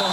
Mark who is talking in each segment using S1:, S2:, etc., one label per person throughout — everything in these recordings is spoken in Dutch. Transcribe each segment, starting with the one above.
S1: Van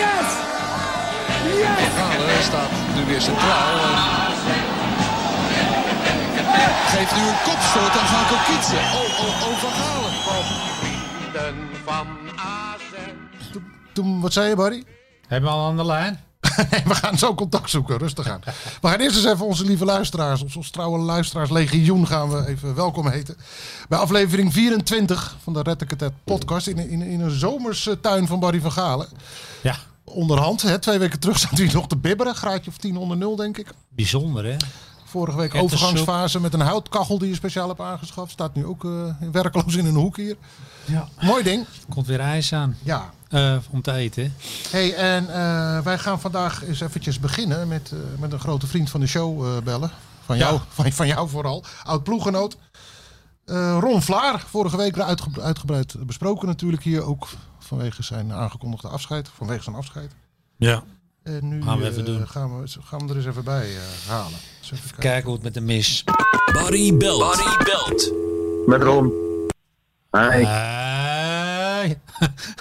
S2: Yes! Yes!
S3: Galen staat nu weer centraal. en Geeft nu een kopstoot aan Van Kokitsen. Oh, oh, oh, Van Galen.
S4: Toen, wat zei je, Barry?
S5: Hebben we al aan de lijn?
S4: Nee, we gaan zo contact zoeken, rustig aan. We gaan eerst eens even onze lieve luisteraars, ons, ons trouwe luisteraarslegioen gaan we even welkom heten. Bij aflevering 24 van de Red the Cadet podcast in, een- in, een- in een zomerse tuin van Barry van Galen.
S5: Ja,
S4: Onderhand, hè, twee weken terug zaten we hier nog te bibberen, graadje of 10 onder nul denk ik.
S5: bijzonder hè?
S4: Vorige week
S5: Het is
S4: overgangsfase met een houtkachel die je speciaal hebt aangeschaft. Staat nu ook eh, werkloos in een hoek hier.
S5: Ja.
S4: Mooi ding.
S5: Komt weer ijs aan
S4: Ja,
S5: eh, om te eten. hè?
S4: Hey, en eh, wij gaan vandaag eens eventjes beginnen met, eh, met een grote vriend van de show eh, bellen. Van
S5: Ja.
S4: jou, van, van jou vooral. Oud ploeggenoot. Eh, Ron Vlaar, vorige week uitge- uitgebreid besproken natuurlijk hier. Ook vanwege zijn aangekondigde afscheid. Vanwege zijn afscheid.
S5: Ja.
S4: En nu
S5: Gaan we even
S4: eh,
S5: doen.
S4: Gaan, we, gaan we hem er eens even bij eh, halen. Dus even kijken.
S5: Kijken hoe het met de mis.
S1: Barry belt. Barry belt.
S6: Met Ron. Hi.
S5: Hey,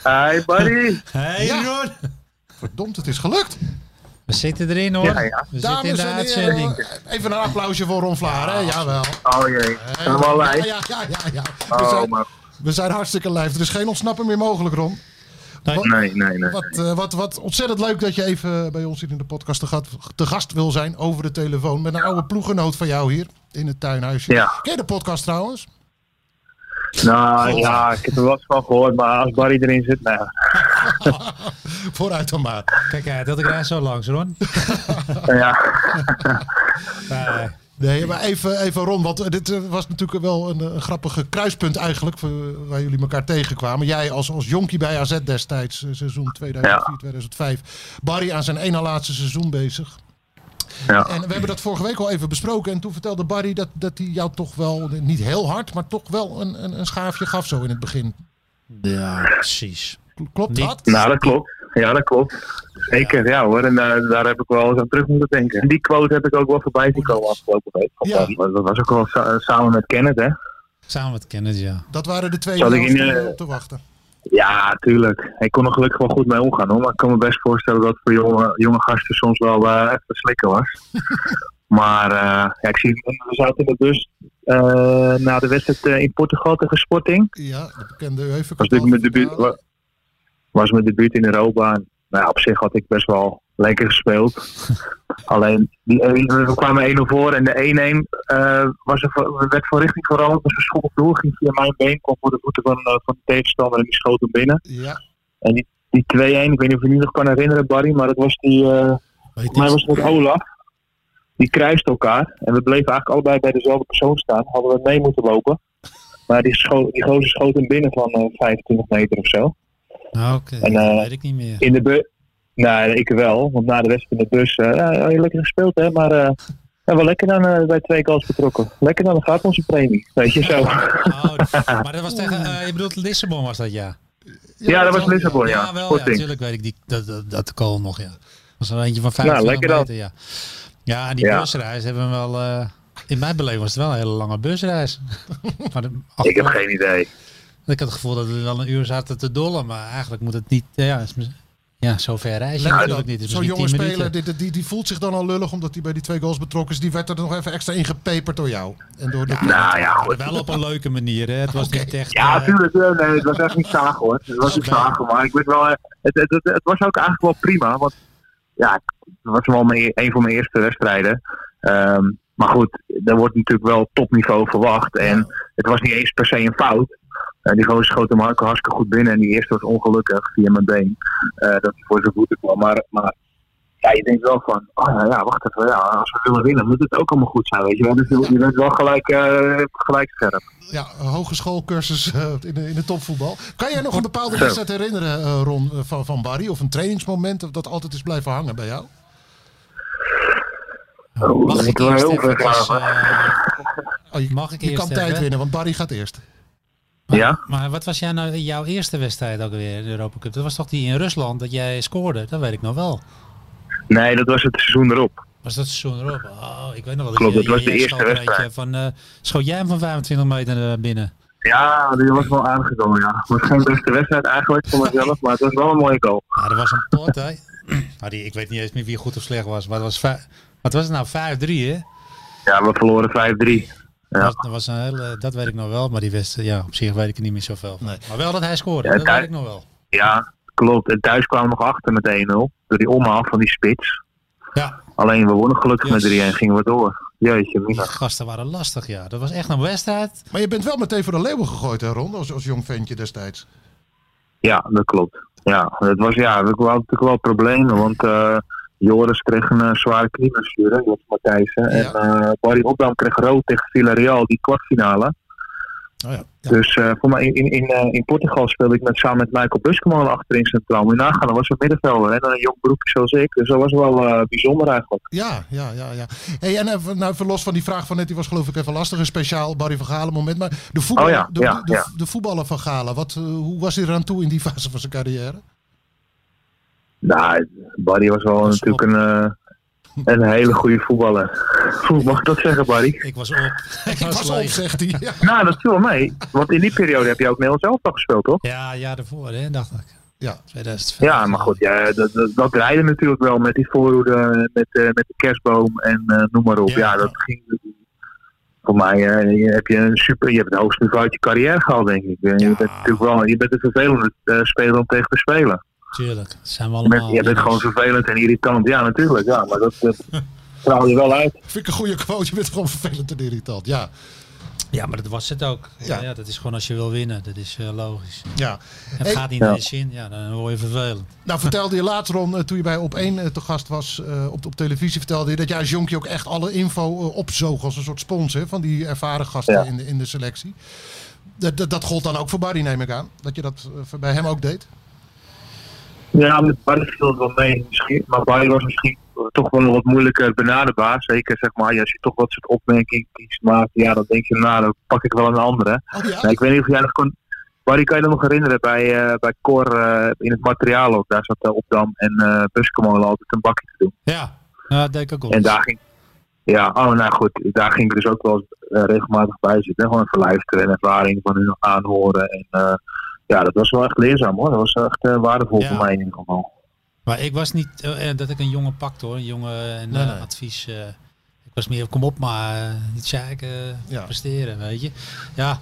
S6: Hi, buddy.
S5: hey
S4: Ja.
S5: Ron.
S4: Verdomd, het is gelukt.
S5: We zitten erin hoor.
S6: Ja, ja.
S5: We zitten
S4: Dames
S5: in de
S4: en
S5: uitzending.
S4: heren, even een applausje voor Ron Vlaar. hè? Jawel.
S6: Oh jee. Zijn we al
S4: ja,
S6: live?
S4: ja, ja, ja, ja. We
S6: Oh,
S4: zijn-
S6: maar
S4: We zijn hartstikke live. Er is geen ontsnappen meer mogelijk, Ron.
S5: Nee.
S4: Wat,
S6: nee, nee, nee.
S4: wat, eh, wat, wat ontzettend leuk dat je even bij ons hier in de podcast te gast, te gast wil zijn over de telefoon. Met een oude ploegenoot van jou hier in het tuinhuisje.
S6: Ja.
S4: Ken je de podcast trouwens?
S6: Nou ja,
S4: Oh.
S6: ik heb er wat van gehoord, maar als Barry erin zit, nou.
S4: Vooruit dan maar.
S5: Kijk uit, dat ik rij zo langs Ron.
S4: Oh.
S6: nou Ja.
S5: Eh,
S4: Nee, maar even, even Ron, want eh, dit eh, was natuurlijk wel een, eh, een grappige kruispunt eigenlijk. voor- eh, Waar jullie elkaar tegenkwamen. Jij als, als jonkie bij AZ destijds, eh, seizoen 2004-2005. Barry aan zijn ene laatste seizoen bezig.
S6: ja.
S4: En we hebben dat vorige week al even besproken. En toen vertelde Barry dat, dat hij jou toch wel, niet heel hard, maar toch wel een, een, een schaafje gaf zo in het begin.
S6: Ah,
S5: ja, precies.
S4: Klopt
S5: Niet-
S4: dat?
S6: Nou, dat klopt. Ja, dat klopt. Zeker, ja hoor. En eh, daar heb ik wel eens aan terug moeten denken. Die quote heb ik ook wel voorbij zien komen afgelopen week.
S4: Ja.
S6: Maar Dat was ook wel sa- eh, samen met Kenneth, hè?
S5: Samen met Kenneth, ja.
S4: Dat waren de twee
S6: Zal ik
S4: die ons
S6: in,
S4: stonden
S6: eh,
S4: op te wachten.
S6: Ja, tuurlijk. Ik kon er gelukkig wel goed mee omgaan hoor. Maar ik kan me best voorstellen dat het voor jonge, jonge gasten soms wel eh even slikken was. maar eh, ja, ik zie, we zaten in de bus eh, na de wedstrijd eh, in Portugal tegen Sporting.
S4: Ja, de bekende UEFA
S6: Was natuurlijk mijn debuut, wa- was mijn debuut in Europa. En, nou, ja, op zich had ik best wel lekker gespeeld. Alleen, die, een- we kwamen 1-0 voor en de 1-1 eh, was er, voor- werd van richting veranderd. Dus een schop op de hoek ging via mijn been, kwam voor de voeten van, eh, van de tegenstander en die schoot hem binnen.
S4: Ja,
S6: Die 2-1, ik weet niet of je je nog kan herinneren, Barry, maar dat was die. eh
S4: weet
S6: volgens mij was het met Olaf. Die kruist elkaar. En we bleven eigenlijk allebei bij dezelfde persoon staan. Hadden we mee moeten lopen. Maar die, scho die gozer schoot hem binnen van eh, 25 meter of zo.
S5: Nou, Oké,
S6: En,
S5: dat
S6: eh,
S5: weet ik niet meer.
S6: In de bus. Nou, ik wel. Want na de wedstrijd in de bus. eh, ja, ja, lekker gespeeld, hè? Maar. eh, ja, wel lekker dan eh, bij twee goals betrokken. Lekker dan, dan gaat onze premie. Weet je zo.
S5: Oh, maar dat was tegen, eh, je bedoelt Lissabon was dat, ja.
S6: ja, dat was Lissabon, ja.
S5: Ja, wel, ja,
S6: Sporting.
S5: natuurlijk weet ik die, dat, dat, dat kool nog, ja. Was er eentje van 50
S6: Nou, lekker
S5: kilometer, ja. Ja, en die
S6: Ja.
S5: busreis hebben we wel... eh, in mijn beleving was het wel een hele lange busreis. maar de-
S6: ik heb geen idee.
S5: ik had het gevoel dat we wel een uur zaten te dollen, maar eigenlijk moet het niet... Ja, is mis- ja zo ver reizen
S4: Lekker
S5: natuurlijk
S4: dan.
S5: niet. Het is
S4: Zo'n
S5: misschien
S4: jonge
S5: 10
S4: speler,
S5: minuten.
S4: die, die, die voelt zich dan al lullig omdat hij bij die twee goals betrokken is. Die werd er nog even extra ingepeperd door jou. En door de...
S6: Nou ja, goed.
S5: Maar Wel op een leuke manier, hè. Het was niet echt...
S6: Ja,
S5: eh,
S6: tuurlijk. Nee, nee, het was echt niet zagen hoor. Het was niet zagen, maar ik weet wel. eh, Het, het, het, het was ook eigenlijk wel prima. Want ja, het was wel mijn, e- een van mijn eerste wedstrijden. Ehm, maar goed, er wordt natuurlijk wel topniveau verwacht. En het was niet eens per se een fout. Eh, die gozer schoot hem hartstikke hartstikke goed binnen. En die eerste was ongelukkig via mijn been. eh, dat hij voor zijn voeten kwam. Maar, maar ja, je denkt wel van, oh ja, ja, wacht even, ja, als we willen winnen moet het ook allemaal goed zijn, weet je wel. Dus je, je bent wel gelijk, eh, gelijk scherp.
S4: Ja, een hogeschoolcursus eh, in, de, in de topvoetbal. Kan jij nog een bepaalde wedstrijd herinneren, eh, Ron, eh, van, van Barry? Of een trainingsmoment of dat altijd is blijven hangen bij jou?
S6: Oh,
S5: Mag
S6: dan
S5: ik
S6: moeten we
S5: eerst
S6: heel veel
S5: even, dus,
S6: graven.
S5: eh,
S4: Oh, je
S5: Mag ik
S4: je
S5: eerst
S4: kan
S5: even?
S4: tijd winnen, want Barry gaat eerst.
S6: Ja?
S5: maar wat was jij nou, jouw eerste wedstrijd ook weer in de Europa Cup? Dat was toch die in Rusland dat jij scoorde? Dat weet ik nog wel.
S6: Nee, dat was het seizoen erop.
S5: Was dat seizoen erop? Oh, ik weet nog wel.
S6: Klopt,
S5: jij-
S6: dat was
S5: jij
S6: de eerste
S5: schoot er eentje
S6: wedstrijd.
S5: Van, eh, schoot jij hem van 25 meter eh, binnen?
S6: Ja, die was wel aangekomen, ja. Het was geen beste wedstrijd eigenlijk voor mezelf, maar het was wel een mooie goal.
S5: Ja, dat was een pot, hè? Nou, die, ik weet niet eens meer wie goed of slecht was. Maar het was, vij- wat was het nou? 5-3, hè?
S6: Ja, we verloren 5-3. Ja.
S5: Dat, was, dat was een hele, dat weet ik nog wel. Maar die wist, ja, op zich weet ik er niet meer zoveel van. Maar wel dat hij scoorde,
S6: Ja,
S5: dat
S6: daar-
S5: weet ik nog wel.
S6: Ja, klopt. En thuis kwamen we nog achter met 1-0. Door die omhaal van die spits.
S5: Ja,
S6: Alleen we wonnen gelukkig
S5: Yes.
S6: met 3-1 en gingen we door. Jeetje,
S5: die
S6: mina.
S5: gasten waren lastig, ja. Dat was echt een wedstrijd.
S4: Maar je bent wel meteen voor de leeuwen gegooid, hè, Ron, als, als jong ventje destijds.
S6: Ja, dat klopt. Ja, dat was, ja we hadden natuurlijk wel problemen. Want eh, Joris kreeg een eh, zware knieblessure, Joris Matthijssen. En eh, Barry Opdam kreeg rood tegen Villarreal, die kwartfinale.
S4: Oh ja.
S6: Dus eh, voor mij in, in, in, eh, in Portugal speelde ik met, samen met Michael Buskeman achterin centraal. Moet je nagaan, dat was een middenvelder en dan een jong broekje zoals ik. Dus dat was wel eh, bijzonder eigenlijk.
S4: Ja, ja, ja. ja. Hey, en even, nou, even los van die vraag van net, die was geloof ik even lastig. Een speciaal Barry van Galen moment. Maar de, voetbal,
S6: Oh ja,
S4: de,
S6: ja,
S4: de,
S6: ja.
S4: de voetballer van Galen, wat, eh, hoe was hij eraan toe in die fase van zijn carrière?
S6: Nou, Barry was wel
S5: Was
S6: natuurlijk een, eh, een hele goede voetballer. Oeh, Mag ik dat zeggen, Barry?
S5: Ik was op. ik was
S4: Pas op,
S5: leeg.
S4: zegt hij. Ja.
S6: Nou, dat viel wel mee. Want in die periode heb je ook Nederlands elftal gespeeld, toch?
S5: Ja, ja, daarvoor, hè, dacht ik.
S4: Ja.
S5: 2005.
S6: Ja, maar goed, ja, dat, dat, dat draaide natuurlijk wel met die voorhoede, met, eh, met de kerstboom en eh, noem maar op.
S5: Ja.
S6: Ja, dat ging... Voor mij eh, je- heb je een super... Je hebt het hoogste niveau uit je carrière gehaald, denk ik. Eh,
S5: Ja.
S6: Je bent natuurlijk wel... Je bent een vervelende eh, speler om tegen te spelen.
S5: Tuurlijk, dat zijn we
S6: Je bent,
S5: allemaal.
S6: je bent gewoon vervelend en irritant. Ja, natuurlijk. Ja, maar dat... dat straal je wel uit.
S4: Vind ik een goede quote. Je bent gewoon vervelend en irritant. Ja.
S5: Ja, maar dat was het ook.
S4: Ja.
S5: Ja. dat is gewoon als je wil winnen. Dat is eh, logisch.
S4: ja.
S5: En het
S4: Hey,
S5: gaat niet
S6: Ja.
S5: naar je zin, ja, dan word je vervelend.
S4: Nou, vertelde je later, Ron, eh, toen je bij Op1 eh, te gast was eh, op, op televisie, vertelde je dat jij als jonkje ook echt alle info eh, opzoog als een soort sponsor van die ervaren gasten
S6: Ja.
S4: in, de, in de selectie. Dat, dat, dat gold dan ook voor Barry, neem ik aan. Dat je dat eh, voor- bij hem ook deed.
S6: Ja, met Barry viel het wel mee. Misschien, maar Barry was misschien toch wel wat moeilijker benaderbaar. Zeker zeg maar, als je toch wat soort opmerkingen maakt, ja, dan denk je, nou, dan pak ik wel een andere.
S4: Oh ja?
S6: Nou, ik weet niet of jij nog kon. Barry, kan je dat nog herinneren? Bij, eh, bij Cor eh, in het materiaal ook. Daar zat eh, Opdam en eh Buskomolen altijd een bakje te doen.
S5: Ja, ja dat denk ik ook.
S6: En daar ging. Ja, oh, nou goed. Daar ging ik dus ook wel eens, eh, regelmatig bij zitten. Gewoon even luisteren en ervaring van hun aanhoren. En eh, ja, dat was wel echt leerzaam hoor. Dat was echt eh, waardevol
S5: Ja.
S6: voor mij in ieder geval.
S5: Maar ik was niet eh, eh, dat ik een jongen pakte hoor, een jongen en
S4: Nee,
S5: eh,
S4: nee.
S5: advies. eh, ik was meer kom op, maar eh, niet zeiken, eh,
S4: Ja.
S5: presteren, weet je. Ja,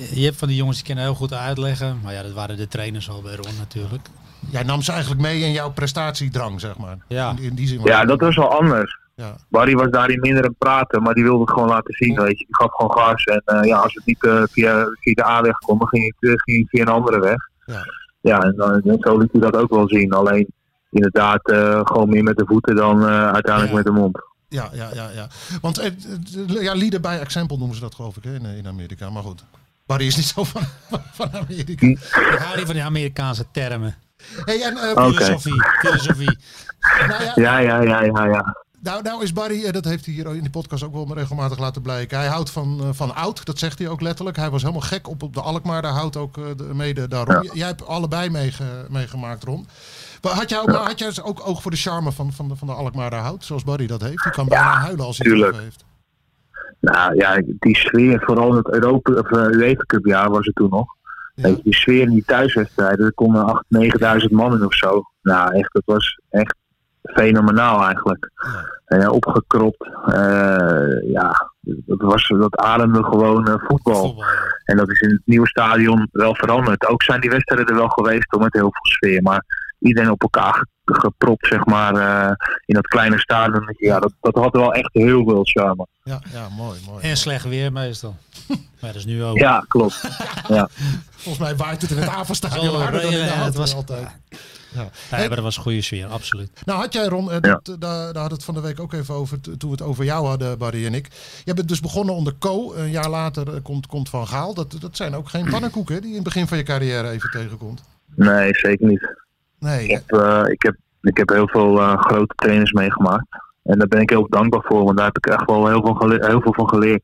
S5: eh, je hebt van die jongens die kunnen heel goed uitleggen. Maar ja, dat waren de trainers al bij Ron natuurlijk.
S4: Jij nam ze eigenlijk mee in jouw prestatiedrang, zeg maar.
S5: Ja.
S4: In, in die zin.
S6: Ja, dat was wel anders.
S4: Ja.
S6: Barry was daarin minder aan het praten, maar die wilde het gewoon laten zien, weet je. Die gaf gewoon gas en eh, ja, als het niet eh, via, via de A-weg kon, dan ging het, eh, ging het via een andere weg.
S4: Ja.
S6: Ja, en dan, en zo liet hij dat ook wel zien. Alleen inderdaad eh, gewoon meer met de voeten dan eh, uiteindelijk
S5: Ja.
S6: met de mond.
S4: Ja, ja, ja, ja. Want eh, eh, ja, leader by example noemen ze dat, geloof ik, hè, in, in Amerika. Maar goed, Barry is niet zo van, van, van Amerika.
S6: Hm.
S5: Ik hou niet van die Amerikaanse termen.
S4: Hey, en, eh,
S6: Oké.
S5: Filosofie, filosofie.
S4: nou ja,
S6: Ja, ja, ja, ja, ja.
S4: Nou, nou is Barry, eh, dat heeft hij hier in de podcast ook wel regelmatig laten blijken. Hij houdt van, eh, van oud, dat zegt hij ook letterlijk. Hij was helemaal gek op, op de Alkmaar, daar houdt ook eh, de, mede daarom. Jij hebt allebei meege- meegemaakt, Ron. Maar had jij, ook, maar had jij dus ook oog voor de charme van, van, de, van de Alkmaar daar houdt, zoals Barry dat heeft? Die kan bijna huilen als hij het
S6: tuurlijk.
S4: over heeft.
S6: Nou ja, die sfeer, vooral in het Europa, of, eh, UEFA Cup jaar was het toen nog.
S4: Ja.
S6: Weet je, die sfeer in die thuiswedstrijden, er konden 8, 9000 man in of zo. Nou echt, dat was echt fenomenaal eigenlijk. En, eh, opgekropt. eh, ja, dat, was, dat ademde gewoon eh, voetbal.
S5: Voetbal. ja.
S6: En dat is in het nieuwe stadion wel veranderd. Ook zijn die wedstrijden er wel geweest hoor, met heel veel sfeer. Maar iedereen op elkaar ge- gepropt, zeg maar, eh, in dat kleine stadion. Ja, dat, dat had wel echt heel veel charme.
S4: Ja, ja, mooi, mooi.
S5: En slecht weer meestal. Maar dat is nu ook.
S6: Ja, klopt.
S4: Volgens mij waait het in het
S5: Zal
S4: Avenstadion
S5: wel
S4: harder dan in de
S5: regenen en het
S4: hand
S5: was-
S4: altijd. Ja.
S5: Ja, maar dat was een goede sfeer, absoluut.
S4: Nou had jij Ron, eh,
S6: Ja.
S4: dat, eh, daar, daar had het van de week ook even over, t- toen we het over jou hadden, Barry en ik. Je bent dus begonnen onder Co, een jaar later eh, komt, komt Van Gaal. Dat, dat zijn ook geen pannenkoeken hè, die je in het begin van je carrière even tegenkomt.
S6: Nee, zeker niet.
S4: Nee,
S6: Ik heb, eh, ik heb, ik heb heel veel eh, grote trainers meegemaakt. En daar ben ik heel dankbaar voor, want daar heb ik echt wel heel veel, gele- heel veel van geleerd.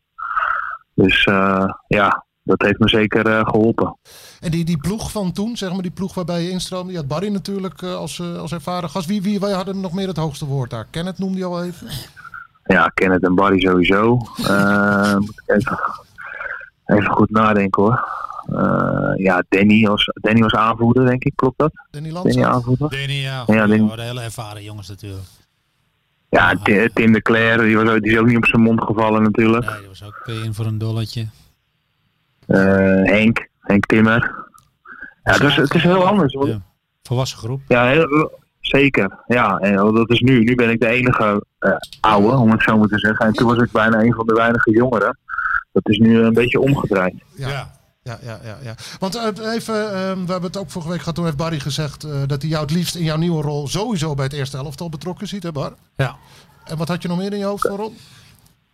S6: Dus eh, ja, dat heeft me zeker eh, geholpen.
S4: En die, die ploeg van toen, zeg maar, die ploeg waarbij je instroomde, die had Barry natuurlijk eh, als, eh, als ervaren gast. Wie, wie, wij hadden nog meer het hoogste woord daar. Kenneth noemde je al even.
S6: Ja, Kenneth en Barry sowieso. Eh, moet ik even, even goed nadenken hoor. Eh, ja, Danny was, Danny was aanvoerder, denk ik, klopt dat?
S4: Danny
S6: Danny
S4: Landzaat.
S6: aanvoerder.
S5: Danny, ja.
S6: Ja,
S5: goeie,
S6: Danny.
S5: hoor, de hele ervaren jongens natuurlijk.
S6: Ja, Ti- Tim de Cler, die, was ook- die is ook niet op zijn mond gevallen natuurlijk.
S5: Nee, die was ook in voor een dolletje.
S6: Eh, Henk, Henk Timmer. Ja, dus, het is heel anders hoor.
S5: Ja. Volwassen groep.
S6: Ja, heel- zeker. Ja, en dat is nu. Nu ben ik de enige eh, oude, om het zo maar te zeggen. En toen was ik bijna een van de weinige jongeren. Dat is nu een beetje omgedraaid.
S4: Ja. Ja. Ja, ja, ja, Want eh, even, ehm, we hebben het ook vorige week gehad. Toen heeft Barry gezegd eh, dat hij jou het liefst in jouw nieuwe rol sowieso bij het eerste elftal betrokken ziet, hè Bar?
S5: Ja.
S4: En wat had je nog meer in je hoofd, Ron?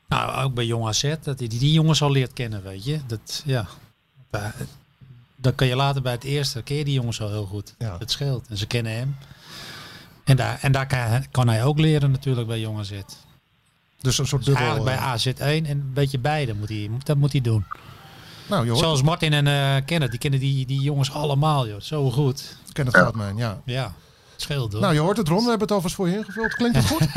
S5: Nou, ook bij Jong AZ, dat hij die, die jongens al leert kennen, weet je. Dat, ja. Eh, Dan kan je later bij het eerste, keer die jongens al heel goed.
S4: Ja.
S5: Dat scheelt. En ze kennen hem. En daar, en daar kan, hij- kan hij ook leren natuurlijk bij Jong AZ.
S4: Dus een soort dubbel...
S5: Eigenlijk bij
S4: eh,
S5: AZ1 en een beetje beide moet hij, dat moet hij doen.
S4: nou, je hoort
S5: Zoals Martin en eh Kenneth, die kennen die, die jongens allemaal, joh. Zo goed.
S4: het, Kenneth Goudmijn, ja.
S5: Ja, het scheelt hoor.
S4: Nou, je hoort het, Ron. We hebben het alvast voor je ingevuld. Klinkt het goed?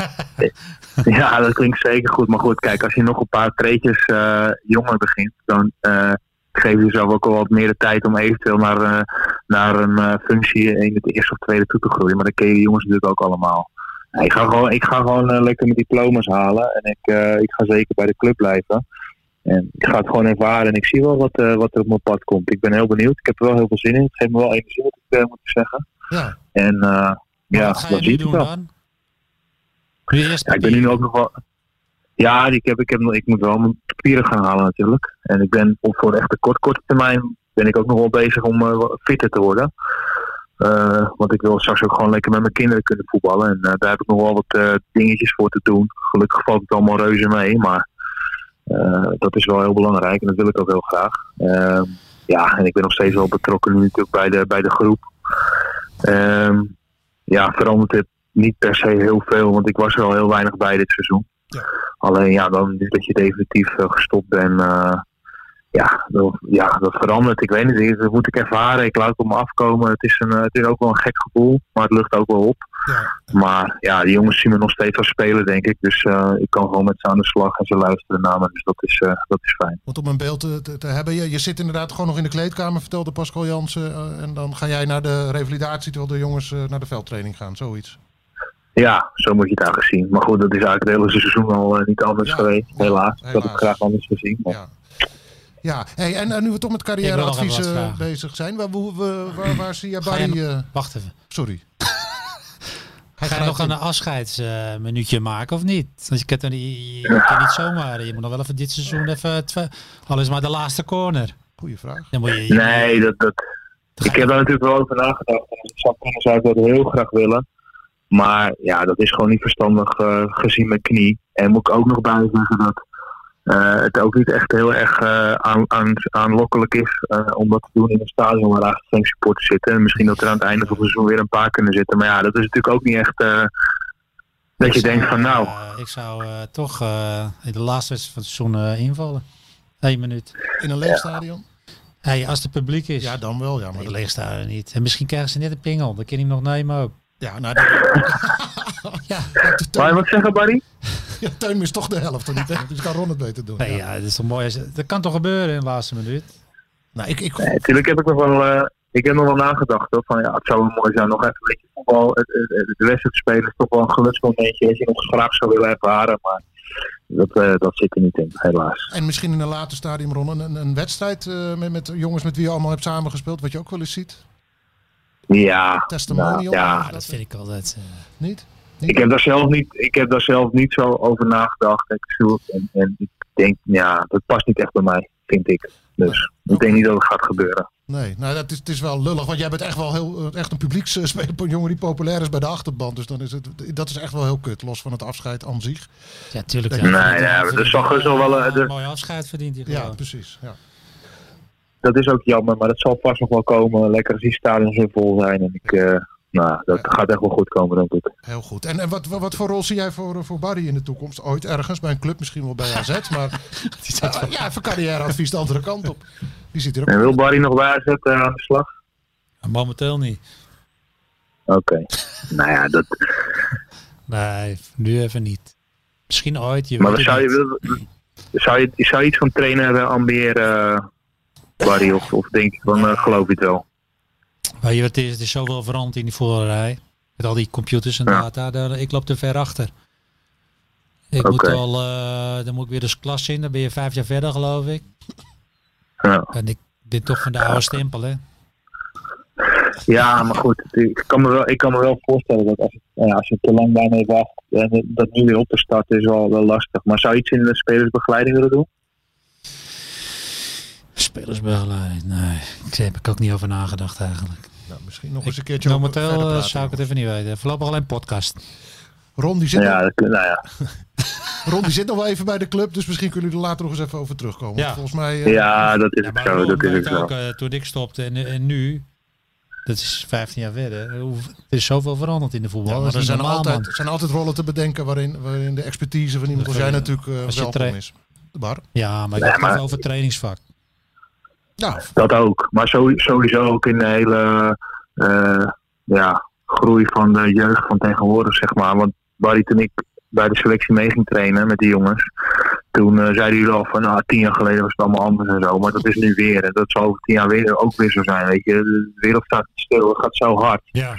S6: Ja, dat klinkt zeker goed. Maar goed, kijk, als je nog een paar treetjes eh, jonger begint, dan eh geef je jezelf ook al wat meer de tijd om eventueel naar, eh, naar een eh, functie in het eerste of tweede toe te groeien. Maar dat ken je die jongens natuurlijk ook allemaal. Nee, ik ga gewoon, ik ga gewoon eh, lekker mijn diploma's halen en ik, eh, ik ga zeker bij de club blijven. En ik ga het gewoon ervaren en ik zie wel wat, eh, wat er op mijn pad komt. Ik ben heel benieuwd. Ik heb er wel heel veel zin in. Het geeft me wel energie, moet ik eh, moet ik zeggen.
S4: Ja.
S6: En eh,
S5: Maar
S6: ja,
S5: wat ga je
S6: dat
S5: nu
S6: zie ik
S5: doen
S6: wel.
S5: dan? Nu eerst
S6: Ja, ik ben nu ook nog wel. Ja, ik, heb, ik, heb, nog- ik moet wel mijn papieren gaan halen natuurlijk. En ik ben op voor de echte kort, korte termijn ben ik ook nog wel bezig om eh, wat fitter te worden. Eh, want ik wil straks ook gewoon lekker met mijn kinderen kunnen voetballen. En eh, daar heb ik nog wel wat eh, dingetjes voor te doen. Gelukkig valt het allemaal reuze mee, maar eh, dat is wel heel belangrijk en dat wil ik ook heel graag. Ehm, ja, en ik ben nog steeds wel betrokken nu natuurlijk bij de, bij de groep. Ehm, ja, verandert het niet per se heel veel, want ik was er al heel weinig bij dit seizoen.
S4: Ja.
S6: Alleen ja, dan nu dat je definitief eh, gestopt bent, eh, ja, dat, ja, dat verandert. Ik weet niet, ik- dat moet ik ervaren. Ik laat het op me afkomen. Het is, een, eh, het is ook wel een gek gevoel, maar het lucht ook wel op.
S4: Ja.
S6: Maar ja, die jongens zien me nog steeds als speler, denk ik. Dus eh, ik kan gewoon met ze aan de slag en ze luisteren naar me. Dus dat is, eh, dat is fijn.
S4: Want om een beeld te, te, te hebben, je, je zit inderdaad gewoon nog in de kleedkamer, vertelde Pascal Jansen. eh, en dan ga jij naar de revalidatie terwijl de jongens eh, naar de veldtraining gaan, zoiets.
S6: Ja, zo moet je het eigenlijk zien. Maar goed, dat is eigenlijk het hele seizoen al eh, niet anders
S4: Ja,
S6: geweest.
S4: ja,
S6: Helaas. Dat heb
S4: helaas.
S6: ik graag anders gezien. Maar...
S4: Ja. Ja, hey, en, eh, nu we toch met
S5: Ik wil nog even wat
S4: carrièreadviezen
S5: vragen.
S4: bezig zijn, waar, hoe- we- waar, waar zie jij
S5: Ga jij
S4: Barry...
S5: nog-
S4: eh,
S5: Wacht even.
S4: sorry. Hij
S5: Ga je
S4: grijpt
S5: nog
S4: in.
S5: een afscheidsminuutje maken of niet? Want je kunt, er niet, je kunt niet zomaar. Je moet nog wel even dit seizoen even. twe- Al is maar de laatste corner.
S4: Goeie vraag.
S5: Dan moet je,
S6: Nee, dat, dat, ik heb daar natuurlijk wel over nagedacht. En als het zou kunnen zou ik dat heel graag willen. Maar ja, dat is gewoon niet verstandig eh, gezien mijn knie. En moet ik ook nog bij zeggen dat eh, het ook niet echt heel erg eh, aan, aan, aanlokkelijk is eh, om dat te doen in een stadion waar eigenlijk geen supporters zitten. En misschien dat er aan het einde van het seizoen weer een paar kunnen zitten. Maar ja, dat is natuurlijk ook niet echt eh, dat je
S5: Ik zou,
S6: denkt van nou,
S5: eh, ik zou eh, toch eh, in de laatste wedstrijd van het seizoen eh, invallen. Eén minuut.
S4: In een leefstadion?
S5: Hey, als het publiek is.
S4: Ja,
S5: Ja,
S4: dan wel, ja. Maar
S5: maar
S4: dat-
S5: het leeg staat er niet. En misschien krijgen ze net een pingel. Dan kun je hem nog nemen ook.
S4: ja, nou, dat-
S5: Ja.
S4: ja, de
S6: wou je
S4: teun,
S6: wat zeggen Barry?
S4: ja, Teun is toch de helft. of niet, hè? Dus kan Ron het beter doen.
S5: Nee,
S4: ja.
S5: ja, dat is toch mooi. als- Dat kan toch gebeuren in de laatste minuut.
S4: Nou, ik, ik,
S6: Natuurlijk heb ik nog wel, eh, ik heb nog wel nagedacht hoor, van ja, het zou wel mooi zijn nog even een beetje voetbal, het, het, het- de wedstrijd spelen is toch wel een geluksmomentje dat je nog graag zou willen ervaren, maar dat, eh, dat zit er niet in, helaas.
S4: En misschien in een later stadium, Ron, een, een- een wedstrijd eh, met, met jongens met wie je allemaal hebt samengespeeld, wat je ook wel eens ziet.
S6: Ja,
S4: Testimonial.
S6: nou, ja.
S5: Ah, dat vind ik altijd. eh,
S4: Niet?
S6: ik heb daar zelf niet, ik heb daar zelf niet zo over nagedacht. Ik zoek en, en ik denk, ja, dat past niet echt bij mij. vind ik. Dus ik denk niet dat het gaat gebeuren.
S4: Nee, nou, dat is, het is wel lullig. Want jij bent echt wel heel, eh, echt een publieksspeler. Een jongen die populair is bij de achterban. Dus dan is het, dat is echt wel heel kut. Los van het afscheid aan zich.
S5: Ja, tuurlijk.
S4: Nee,
S5: ja.
S6: nee,
S5: Verdient hij-
S6: maar dat
S5: verdient
S6: zal
S5: hij
S6: gerust wel wel, eh,
S5: een
S6: de-
S5: mooi afscheid verdient hij
S4: Ja,
S5: gewoon.
S4: precies. Ja.
S6: Dat is ook jammer, maar dat zal vast nog wel komen. Lekker als die stadions weer vol zijn. En ik, eh, nou, dat gaat echt wel goed komen, denk ik.
S4: Heel goed. En, en wat, wat, wat voor rol zie jij voor, eh, voor Barry in de toekomst? Ooit ergens, bij een club misschien wel bij AZ. Maar ja, ja, even carrièreadvies de andere kant op. Die zit er ook.
S6: En wil Barry nog bij AZ eh, aan de slag?
S5: Momenteel niet.
S6: Oké. nou ja, dat,
S5: Nee, nu even niet. Misschien ooit. Je
S6: maar
S5: weet
S6: wat
S5: het
S6: zou je,
S5: niet.
S6: wil- zou je zou je iets van trainer eh, ambiëren, eh, Barry? Of, of denk je van, eh, geloof je het wel?
S5: Maar je, weet, het, is, het is zoveel veranderd in die voorrij. Met al die computers en
S6: Ja.
S5: data. Daar, ik loop te ver achter. Ik moet
S6: Oké.
S5: al, eh, dan moet ik weer eens klas in. Dan ben je vijf jaar verder, geloof ik.
S6: Ja.
S5: En ik ben toch van de oude stempel, hè?
S6: Ja, maar goed, het- ik kan me wel, ik kan me wel voorstellen dat als, nou ja, als je te lang daarmee wacht, en dat nu weer op te starten is wel, wel lastig. Maar zou je iets in de spelersbegeleiding willen doen?
S5: Spelersbegeleid. Nee, ik- daar heb ik ook niet over nagedacht eigenlijk.
S4: Nou, misschien nog eens een keertje. over- verder
S5: Momenteel eh,
S4: praten.
S5: zou ik het even niet weten. Voorlopig alleen podcast.
S4: Ron, die zit,
S6: Ja, dat, nou ja.
S4: Ron die zit nog wel even bij de club. Dus misschien kunnen jullie er later nog eens even over terugkomen.
S5: Ja.
S4: Want Volgens mij. eh,
S6: ja, dat is
S5: Ja,
S6: het
S5: maar
S6: zo.
S5: Ron
S6: Dat is
S5: weet
S6: het zo.
S5: ook, eh, toen ik stopte en, en nu, dat is 15 jaar verder, hoe- er is zoveel veranderd in de voetbal.
S4: Ja,
S5: dat
S4: maar
S5: is
S4: er zijn
S5: niet normaal,
S4: altijd,
S5: man.
S4: er zijn altijd rollen te bedenken waarin, waarin de expertise van iemand als
S5: Dat,
S4: jij
S5: eh,
S4: natuurlijk eh,
S5: als je
S4: welkom
S5: tra-
S4: is. Bar.
S5: Ja, maar ik
S6: Nee,
S5: heb
S6: maar-
S5: het over trainingsvak.
S4: Ja,
S6: Dat ook. Maar zo- sowieso ook in de hele eh, ja, groei van de jeugd van tegenwoordig, zeg maar. Want Barry, toen ik bij de selectie mee ging trainen met die jongens, toen eh, zeiden jullie al van, nou, tien jaar geleden was het allemaal anders en zo. Maar dat is nu weer. En dat zal over tien jaar weer, ook weer zo zijn, weet je. De wereld staat niet stil, het gaat zo hard.
S5: Ja.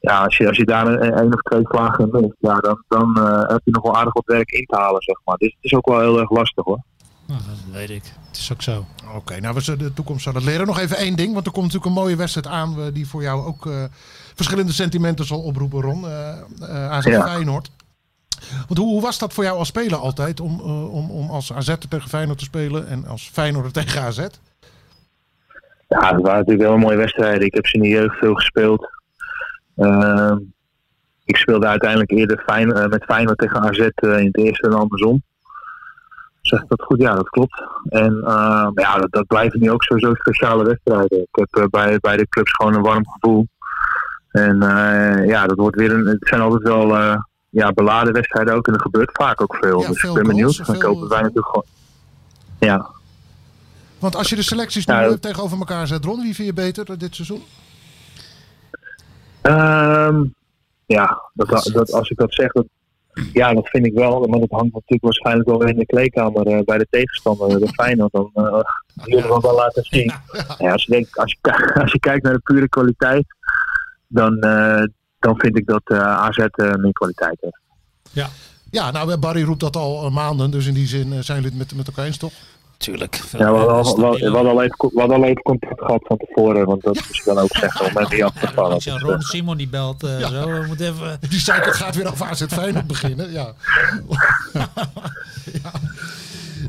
S6: Ja, als je, als je daar een, een of twee vlagen in mist, ja, dan, dan eh, heb je nog wel aardig wat werk in te halen, zeg maar. Dus het is ook wel heel erg lastig, hoor.
S5: Nou, dat weet ik. Het is ook zo.
S4: oké. nou, we zullen de toekomst zullen leren. Nog even één ding, want er komt natuurlijk een mooie wedstrijd aan eh, die voor jou ook eh, verschillende sentimenten zal oproepen, Ron. eh eh AZ
S6: Ja.
S4: Feyenoord. Want hoe, hoe was dat voor jou als speler altijd om, eh, om, om als AZ tegen Feyenoord te spelen en als Feyenoord tegen AZ?
S6: Ja, het waren natuurlijk wel een mooie wedstrijden. Ik heb ze in de jeugd veel gespeeld. Ehm, ik speelde uiteindelijk eerder Fijn, eh, met Feyenoord tegen AZ eh, in het eerste en andersom. Zeg ik dat goed? Ja, dat klopt. En ehm, ja, dat, dat blijven nu ook sowieso speciale wedstrijden. Ik heb eh, bij, bij de clubs gewoon een warm gevoel. En eh, ja, dat wordt weer een, het zijn altijd wel eh, ja, beladen wedstrijden ook. En er gebeurt vaak ook veel.
S4: Ja,
S6: dus
S4: veel
S6: ik ben benieuwd.
S4: goals,
S6: ik
S4: veel-
S6: hoop dat wij natuurlijk gewoon... Ja,
S4: Want als je de selecties nu
S6: Ja, dat-
S4: eh, tegenover elkaar zet, Ron, wie vind je beter eh, dit seizoen?
S6: Ehm, ja, dat, dat, als ik dat zeg, dat, ja, dat vind ik wel. Maar dat hangt natuurlijk waarschijnlijk wel weer in de kleedkamer eh, bij de tegenstander, de Feyenoord. Dan eh, die willen we wel laten zien. Ja, als, je denkt, als, je, ki- als je kijkt naar de pure kwaliteit, dan, eh, dan vind ik dat eh, AZ eh, meer kwaliteit heeft.
S4: Ja, nou, eh, Barry roept dat al eh, maanden, dus in die zin eh, zijn jullie het met, met elkaar eens, toch?
S5: Tuurlijk.
S6: Ja, we hadden al, we hadden- we hadden al even, co- we hadden al even contact gehad van tevoren, want dat is dan ook zeggen om met die af te vallen.
S5: Ik zeg, Ron Simon die belt eh, zo. We moeten even...
S4: Die cycle gaat weer over AZ Feyenoord beginnen. Ja. ja.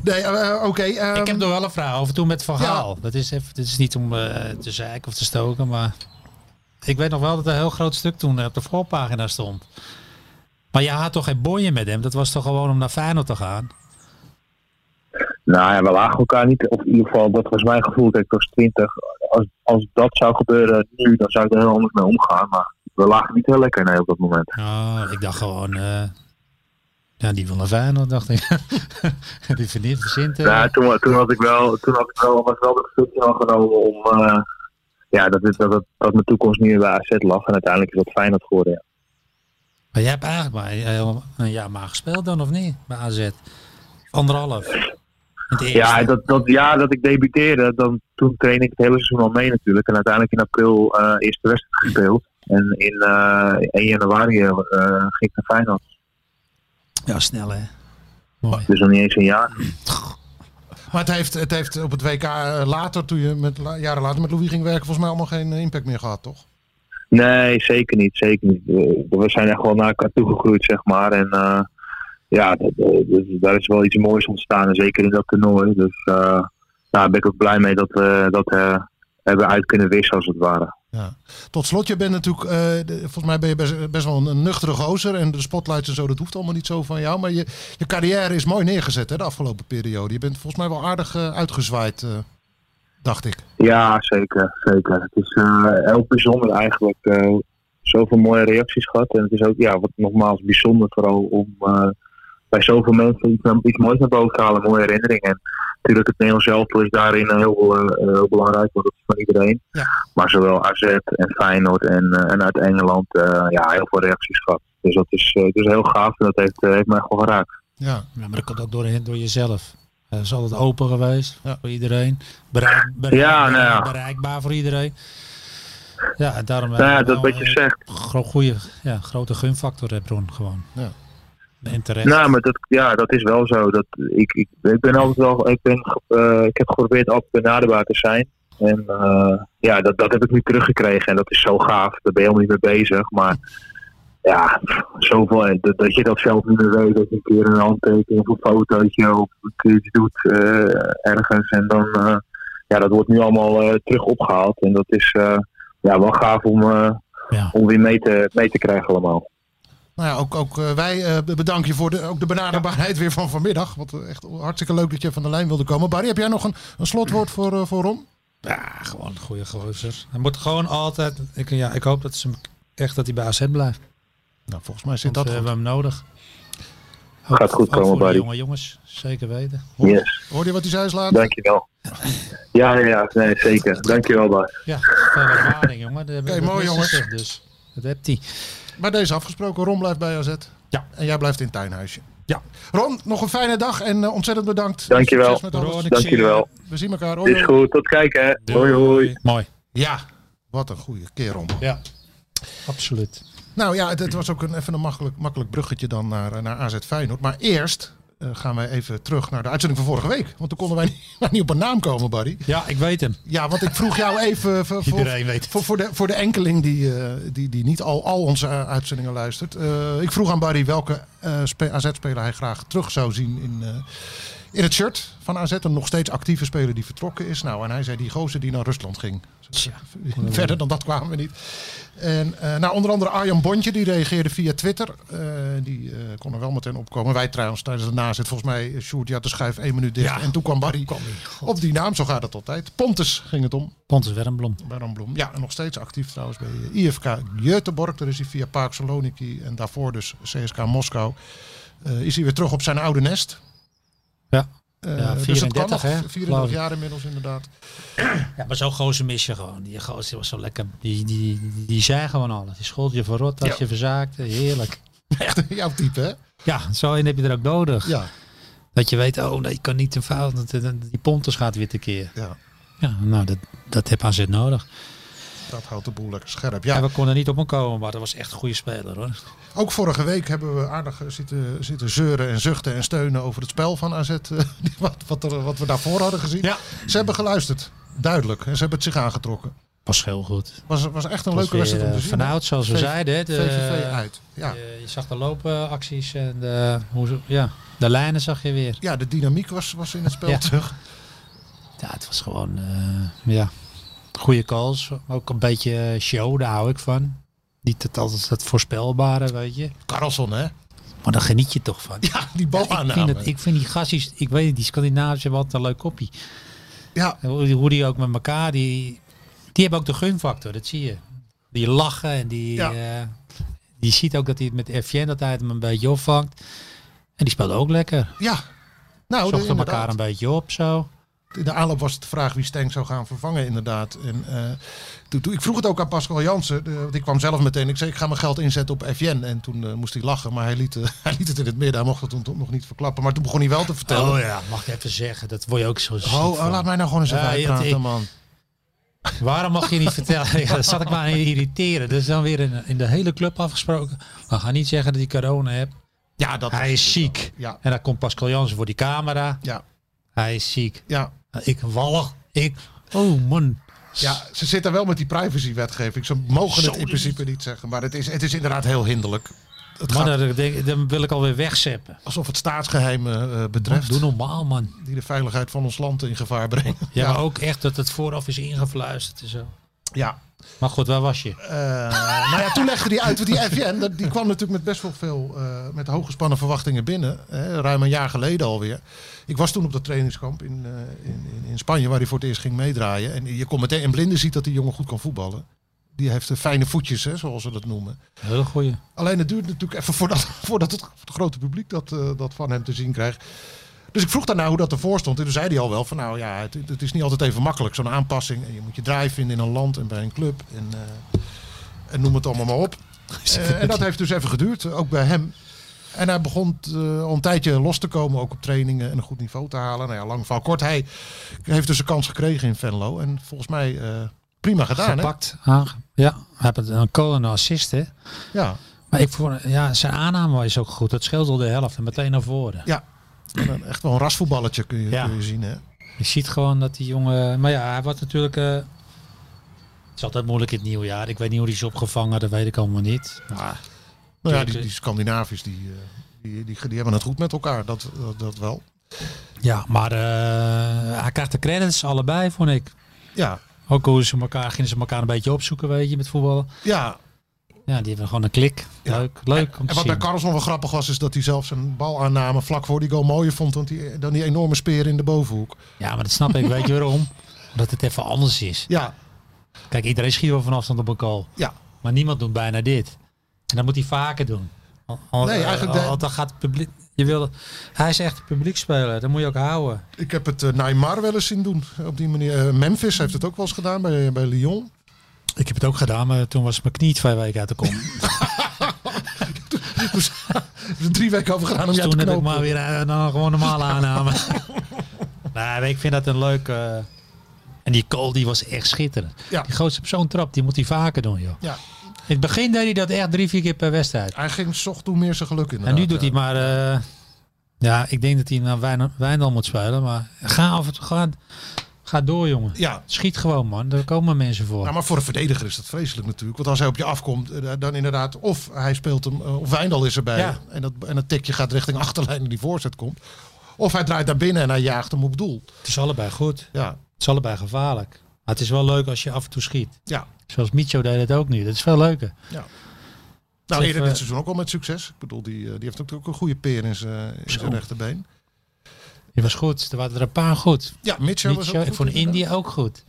S4: Nee, eh, oké. ehm,
S5: Ik heb nog wel een vraag over toen met Van
S4: Ja.
S5: Gaal. Dat, is even, dat is niet om eh, te zeiken of te stoken, maar ik weet nog wel dat er een heel groot stuk toen eh, op de voorpagina stond. Maar je had toch geen bonje met hem? Dat was toch gewoon om naar Feyenoord te gaan?
S6: Nou ja, we lagen elkaar niet. Of in ieder geval, dat was mijn gevoel. Kijk, ik was 20. Als, als dat zou gebeuren nu, dan zou ik er heel anders mee omgaan. Maar we lagen niet heel lekker nee, op dat moment.
S5: Oh, ik dacht gewoon, eh, ja, die wil naar Feyenoord, dacht ik. die verdient, verzint. eh.
S6: Ja, toen, toen had ik wel, toen had ik wel, was wel de beslissing al genomen om. eh, ja, dat, dit- dat, dat, dat mijn toekomst niet meer bij AZ lag. En uiteindelijk is dat Feyenoord geworden. Ja.
S5: Maar jij hebt eigenlijk maar eh, een jaar maar gespeeld dan, of niet? Bij AZ. Anderhalf. In het eerste.
S6: Ja, dat, dat, ja, dat ik debuteerde, dan, toen trainde ik het hele seizoen al mee natuurlijk. En uiteindelijk in april eh eerste wedstrijd gespeeld. En in eh, 1 januari eh, ging ik naar Feyenoord.
S5: ja snel hè. Mooi.
S6: Dus nog niet eens een jaar.
S4: Maar het heeft, het heeft op het WK later, toen je met, la- jaren later met Louis ging werken, volgens mij allemaal geen eh, impact meer gehad, toch?
S6: Nee, zeker niet. Zeker niet. We- We zijn echt wel naar elkaar toegegroeid, zeg maar. En eh, ja, dat- dat- dat- daar is wel iets moois ontstaan. En zeker in dat toernooi. Dus eh, daar ben ik ook blij mee dat we dat eh, hebben uit kunnen wissen als het ware.
S4: Ja. Tot slot, je bent natuurlijk, eh, de- volgens mij ben je best, best wel een, een nuchtere gozer. En de spotlights en zo, dat hoeft allemaal niet zo van jou. Maar je, je carrière is mooi neergezet hè, de afgelopen periode. Je bent volgens mij wel aardig eh, uitgezwaaid, eh, dacht ik.
S6: Ja, zeker. zeker. Het is eh, heel bijzonder eigenlijk. eh, zoveel mooie reacties gehad. En het is ook, ja, wat nogmaals bijzonder vooral om eh, bij zoveel mensen iets, iets moois naar boven te halen. Mooie herinneringen. En natuurlijk het Nederlands zelf is daarin heel, eh, heel belangrijk, want dat is van iedereen.
S4: Ja.
S6: Maar zowel AZ en Feyenoord en, eh, en uit Engeland, eh, ja, heel veel reacties gehad. Dus dat is, eh, dat is heel gaaf en dat heeft, eh, heeft mij gewoon geraakt.
S4: Ja,
S5: Ja, maar dat komt ook door, door jezelf. Dat is altijd open geweest
S4: Ja.
S5: voor iedereen. Bereik, bereik-
S6: Ja, nou ja.
S5: Bereikbaar voor iedereen. Ja, en daarom
S6: Nou ja,
S5: hebben we
S6: dat
S5: wel eh,
S6: wat je
S5: een
S6: zegt.
S5: gro- goeie, ja, grote gunfactor, hè, Bron, gewoon.
S4: Ja.
S5: En terecht.
S6: Nou, maar dat, ja, dat is wel zo. Dat, ik, ik, ik ben altijd wel. Ik, ben, ge- eh, ik heb geprobeerd altijd benaderbaar te zijn. En eh, ja, dat, dat heb ik nu teruggekregen. En dat is zo gaaf. Daar ben je helemaal niet mee bezig. Maar ja, pff, zoveel. eh, Dat, dat je dat zelf niet meer weet. Dat je een keer een handtekening of een fotootje of een keertje doet eh, ergens. En dan. eh, ja, dat wordt nu allemaal eh, terug opgehaald. En dat is eh, ja, wel gaaf om, eh,
S5: Ja.
S6: om weer mee te, mee te krijgen, allemaal.
S4: nou ja, ook, ook eh, wij eh, bedanken je voor de, ook de benaderbaarheid weer van vanmiddag. Want eh, echt hartstikke leuk dat je van de lijn wilde komen. Barry, heb jij nog een, een slotwoord voor, eh, voor Ron?
S5: Ja, gewoon een goede gozer. Hij moet gewoon altijd... Ik, ja, ik hoop dat ze hem, echt dat hij bij AZ blijft.
S4: Nou, volgens mij zit
S5: Want
S4: dat
S5: eh, we
S4: goed.
S5: hebben hem nodig.
S6: Gaat goed komen, Barry.
S5: jonge jongens, zeker weten.
S6: Yes.
S4: Hoorde je wat hij zei, is laat?
S6: Dankjewel. Ja, ja, ja. Nee, zeker. Dankjewel, Bas.
S5: Ja, veel ervaring, jongen. Oké,
S4: Oké, mooi, jongens.
S5: Dus. Dat hebt hij.
S4: Maar deze afgesproken, Ron blijft bij AZ.
S5: Ja.
S4: En jij blijft in het tuinhuisje.
S5: Ja.
S4: Ron, nog een fijne dag en eh, ontzettend bedankt.
S6: Dankjewel.
S4: Succes met eh, alles.
S5: Ron, ik
S6: Dank
S5: zie
S6: jullie
S5: je.
S6: wel.
S4: We zien elkaar. Hoi,
S6: Is
S4: hoi.
S6: goed. Tot kijken. hè. Hoi, hoi.
S5: Mooi.
S4: Ja, wat een goede kerel. man.
S5: Ja, absoluut.
S4: Nou ja, het, het was ook een, even een makkelijk, makkelijk bruggetje dan naar, eh, naar AZ Feyenoord. Maar eerst eh, gaan wij even terug naar de uitzending van vorige week. Want toen konden wij niet, niet op een naam komen, Barry.
S5: Ja, ik weet hem.
S4: Ja, want ik vroeg jou even eh, voor, voor,
S5: Iedereen weet het.
S4: voor, voor de, voor de enkeling die, eh, die, die niet al, al onze eh, uitzendingen luistert. Eh, ik vroeg aan Barry welke eh, AZ-speler hij graag terug zou zien in, eh, in het shirt van AZ. Een nog steeds actieve speler die vertrokken is. Nou, en hij zei die gozer die naar Rusland ging. Verder dan dat kwamen we niet. En eh, nou, onder andere Arjan Bontje, die reageerde via Twitter. Eh, die eh, kon er wel meteen opkomen. Wij trouwens tijdens de nazit, volgens mij, eh, Sjoerd, ja, de schuif één minuut dicht. en toen kwam Barry op die naam, zo gaat het altijd. Pontus ging het om.
S5: Pontus Wermbloem.
S4: Baron Bloem. Ja, en nog steeds actief trouwens bij eh, IFK Göteborg. Daar is hij via Park Saloniki en daarvoor dus CSK Moskou. Eh, is hij weer terug op zijn oude nest.
S5: Ja.
S4: Eh,
S5: Ja,
S4: dus het
S5: 34,
S4: kan nog.
S5: hè, geloof
S4: 34
S5: ik.
S4: jaar inmiddels inderdaad.
S5: Ja, maar zo'n gozer mis je gewoon. Die gozer die was zo lekker. Die, die, die, die zei gewoon alles. Die schold je verrot als
S4: Ja.
S5: je verzaakte. Heerlijk.
S4: Echt jouw type, hè?
S5: Ja, zo een heb je er ook nodig.
S4: Ja.
S5: Dat je weet, oh nee, ik kan niet te fout. want, eh, Die Pontus gaat weer tekeer.
S4: ja.
S5: Ja, nou, dat, dat heb AZ nodig.
S4: Dat houdt de boel lekker scherp.
S5: Ja.
S4: Ja,
S5: we konden niet op hem komen, maar dat was echt een goede speler hoor.
S4: ook vorige week hebben we aardig eh, zitten, zitten zeuren en zuchten en steunen over het spel van AZ. eh, die- wat, wat, er, wat we daarvoor hadden gezien.
S5: Ja.
S4: Ze hebben geluisterd. Duidelijk. En ze hebben het zich aangetrokken.
S5: Was heel goed.
S4: Was, was echt een
S5: Was
S4: leuke
S5: weer,
S4: wedstrijd om
S5: eh,
S4: te zien. hè?
S5: Vanouds, zoals we
S4: V-
S5: zeiden. eh, hè, De,
S4: VVV uit. Ja.
S5: Je, je zag de loopacties en de, hoe, ze- ja, de lijnen zag je weer.
S4: ja, de dynamiek was, was in het spel
S5: Ja.
S4: terug.
S5: Ja, het was gewoon, eh, ja, goede calls. Ook een beetje eh, show, daar hou ik van. Niet het, altijd het voorspelbare, weet je.
S4: Karlsson, hè?
S5: Maar daar geniet je toch van.
S4: Ja, nou, die
S5: ik,
S4: balaanname.
S5: vind het, ik vind die gastjes, ik weet niet, die Scandinavische wat een leuk koppie.
S4: Ja,
S5: En Hoe die, hoe die ook met elkaar, die, die hebben ook de gunfactor, dat zie je. Die lachen en die,
S4: Ja.
S5: eh, die ziet ook dat hij het met FN dat hij het hem een beetje opvangt. En die speelde ook lekker.
S4: ja. Nou, de,
S5: Zochten elkaar een
S4: inderdaad.
S5: beetje op zo.
S4: in de aanloop was het de vraag wie Stenk zou gaan vervangen, inderdaad. En eh, toen, toen, ik vroeg het ook aan Pascal Jansen, eh, want ik kwam zelf meteen. Ik zei, ik ga mijn geld inzetten op FN. En toen eh, moest hij lachen, maar hij liet, eh, hij liet het in het midden. Hij mocht het toen toch nog niet verklappen. Maar toen begon hij wel te vertellen.
S5: Oh ja, mag ik even zeggen, dat word je ook zo ziek
S4: Oh, oh,
S5: van.
S4: laat mij nou gewoon eens even
S5: Ja,
S4: uitpraten,
S5: ik-
S4: man.
S5: Waarom mag je niet vertellen? Ja, dat zat ik maar aan irriteren. Dat is dan weer in, in de hele club afgesproken. We gaan niet zeggen dat hij corona hebt.
S4: Ja, dat
S5: Hij is ziek.
S4: Ja,
S5: En dan komt Pascal Jansen voor die camera.
S4: ja,
S5: Hij is ziek.
S4: ja.
S5: Ik wallig. Ik, oh man.
S4: Ja, ze zitten wel met die privacywetgeving. Ze mogen
S5: Zo
S4: het in principe niet zeggen. Maar het is, het is inderdaad heel hinderlijk. het gaat
S5: Mannen, dat denk- dan wil ik alweer wegzeppen.
S4: alsof het staatsgeheim eh, eh, betreft.
S5: Doe normaal, man.
S4: Die de veiligheid van ons land in gevaar brengen.
S5: Ja, maar ook echt dat het vooraf is ingefluisterd en zo.
S4: ja.
S5: Maar goed, waar was je?
S4: Eh, nou ja, toen legde hij uit, want die FN dat- die kwam natuurlijk met best wel veel, eh, met hooggespannen verwachtingen binnen. Hè, ruim een jaar geleden alweer. Ik was toen op dat trainingskamp in, eh, in, in, in Spanje, waar hij voor het eerst ging meedraaien. En je komt meteen, en Blinden ziet dat die jongen goed kan voetballen. Die heeft eh, fijne voetjes, hè, zoals ze dat noemen.
S5: Heel goeie.
S4: Alleen het duurt natuurlijk even voordat, voordat het, het grote publiek dat, eh, dat van hem te zien krijgt. Dus ik vroeg daarna hoe dat ervoor stond. En toen zei hij al wel van nou ja, het, het is niet altijd even makkelijk, zo'n aanpassing. En je moet je draai vinden in een land en bij een club. En, eh, en noem het allemaal maar op. Eh, en dat heeft dus even geduurd, eh, ook bij hem. En hij begon eh, al een tijdje los te komen, ook op trainingen en een goed niveau te halen. Nou ja, lang van kort. Hij heeft dus een kans gekregen in Venlo. En volgens mij eh, prima gedaan. Hè?
S5: Gepakt, aange... Ja, hij heeft het- een goal en een assist, hè.
S4: Ja.
S5: Maar ik vond, ja, zijn aanname was ook goed. Dat scheelde al de helft en meteen naar voren.
S4: ja. En dan Echt wel een rasvoetballetje kun je,
S5: Ja.
S4: kun je zien. Hè?
S5: Je ziet gewoon dat die jongen... Maar ja, hij was natuurlijk... eh, het is altijd moeilijk in het nieuwjaar. Ik weet niet hoe hij is opgevangen, dat weet ik allemaal niet. Maar
S4: Nou ja,
S5: Kijk,
S4: die, die
S5: eh,
S4: Scandinavisch, die, eh, die, die, die hebben het goed met elkaar, dat, dat, dat wel.
S5: Ja, maar eh, hij krijgt de credits allebei, vond ik.
S4: Ja,
S5: Ook hoe ze elkaar, gingen ze elkaar een beetje opzoeken, weet je, met voetballen.
S4: ja.
S5: Ja, die hebben gewoon een klik.
S4: Ja.
S5: Leuk, leuk om te
S4: En wat bij
S5: zien.
S4: Carlson wel grappig was, is dat hij zelf zijn balaanname vlak voor die goal mooier vond dan die, dan die enorme speer in de bovenhoek.
S5: Ja, maar dat snap ik, weet je waarom? Omdat het even anders is.
S4: Ja,
S5: Kijk, iedereen schiet wel van afstand op een goal.
S4: ja.
S5: Maar niemand doet bijna dit. En dat moet hij vaker doen. Al- al-
S4: Nee, eigenlijk
S5: al-
S4: de-
S5: al- dan gaat het publiek... Je wil, hij is echt een publiekspeler, dat moet je ook houden.
S4: Ik heb het eh, Neymar wel eens zien doen op die manier. Eh, Memphis heeft het ook wel eens gedaan bij, bij Lyon.
S5: Ik heb het ook gedaan, maar toen was mijn knie twee weken uit de kom.
S4: Heeft er drie weken over gedaan om
S5: Dus
S4: jou te
S5: toen heb ik
S4: knopen.
S5: maar weer eh, nou, gewoon normale aanname. nee, maar ik vind dat een leuk. eh, en die goal die was echt schitterend.
S4: Ja.
S5: Die gozer op zo'n trap, die moet hij vaker doen, joh.
S4: Ja,
S5: In het begin deed hij dat echt drie, vier keer per wedstrijd.
S4: hij ging zocht toen meer zijn geluk in.
S5: En nu doet hij maar. eh, ja, ik denk dat hij naar Wijn- Wijndal moet spelen. Maar ga af en toe. Ga, ga door, jongen.
S4: Ja,
S5: Schiet gewoon, man. Daar komen mensen voor.
S4: Nou, maar voor een verdediger is dat vreselijk natuurlijk. Want als hij op je afkomt, eh, dan inderdaad, of hij speelt hem, eh, of Wijndal is erbij.
S5: Ja.
S4: En, dat, en dat tikje gaat richting achterlijn en die voorzet komt. Of hij draait naar binnen en hij jaagt hem op doel.
S5: Het is allebei goed.
S4: Ja,
S5: Het is allebei gevaarlijk. Maar het is wel leuk als je af en toe schiet.
S4: ja.
S5: Zoals Micho deed het ook nu. Dat is veel leuker.
S4: Nou, eerder
S5: Even-
S4: dit seizoen ook al met succes. Ik bedoel, die, eh, die heeft natuurlijk ook een goede peer in zijn eh, in zijn rechterbeen.
S5: Die was goed. Er waren er een paar goed.
S4: Ja, Mitchell was
S5: Nietzsche
S4: ook
S5: en
S4: goed,
S5: voor
S4: inderdaad.
S5: India ook goed.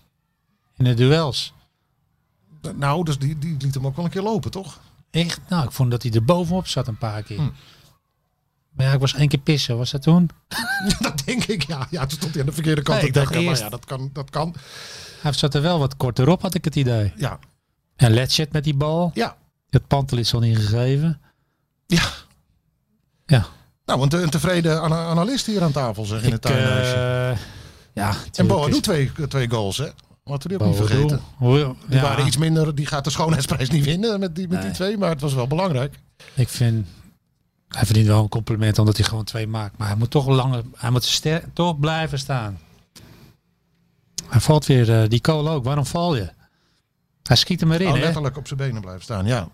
S5: In de duels.
S4: Nou, dus die, die liet hem ook wel een keer lopen, toch?
S5: Echt, nou, ik vond dat hij er bovenop zat een paar
S4: Hm.
S5: keer. Maar ja, ik was één keer pissen, was dat toen?
S4: dat denk ik, ja. Ja, toen stond hij aan de verkeerde kant.
S5: Nee,
S4: te
S5: ik dacht
S4: dekken, maar
S5: eerst-
S4: ja, dat kan, dat kan.
S5: Hij zat er wel wat korter op, had ik het idee.
S4: Ja,
S5: En Letchet met die bal.
S4: ja.
S5: Het pantel is al ingegeven.
S4: ja.
S5: Ja.
S4: Nou, want een tevreden ana- analist hier aan tafel, zeg, in het
S5: Ik, eh,
S4: tuinhuisje.
S5: ja,
S4: En
S5: tuurlijk
S4: Boa
S5: is-
S4: doet twee, twee goals, hè? Laten we die ook niet
S5: Boadu.
S4: vergeten.
S5: Hoe- ja,
S4: Die waren iets minder. Die gaat de schoonheidsprijs niet winnen met die, met die
S5: Nee.
S4: twee. Maar het was wel belangrijk.
S5: Ik vind... Hij verdient wel een compliment omdat hij gewoon twee maakt. Maar hij moet toch langer... Hij moet ster- toch blijven staan. Hij valt weer... eh, die kool ook. Waarom val je? Hij schiet hem erin,
S4: Al
S5: hè?
S4: letterlijk Oh, op zijn benen blijven staan. Ja.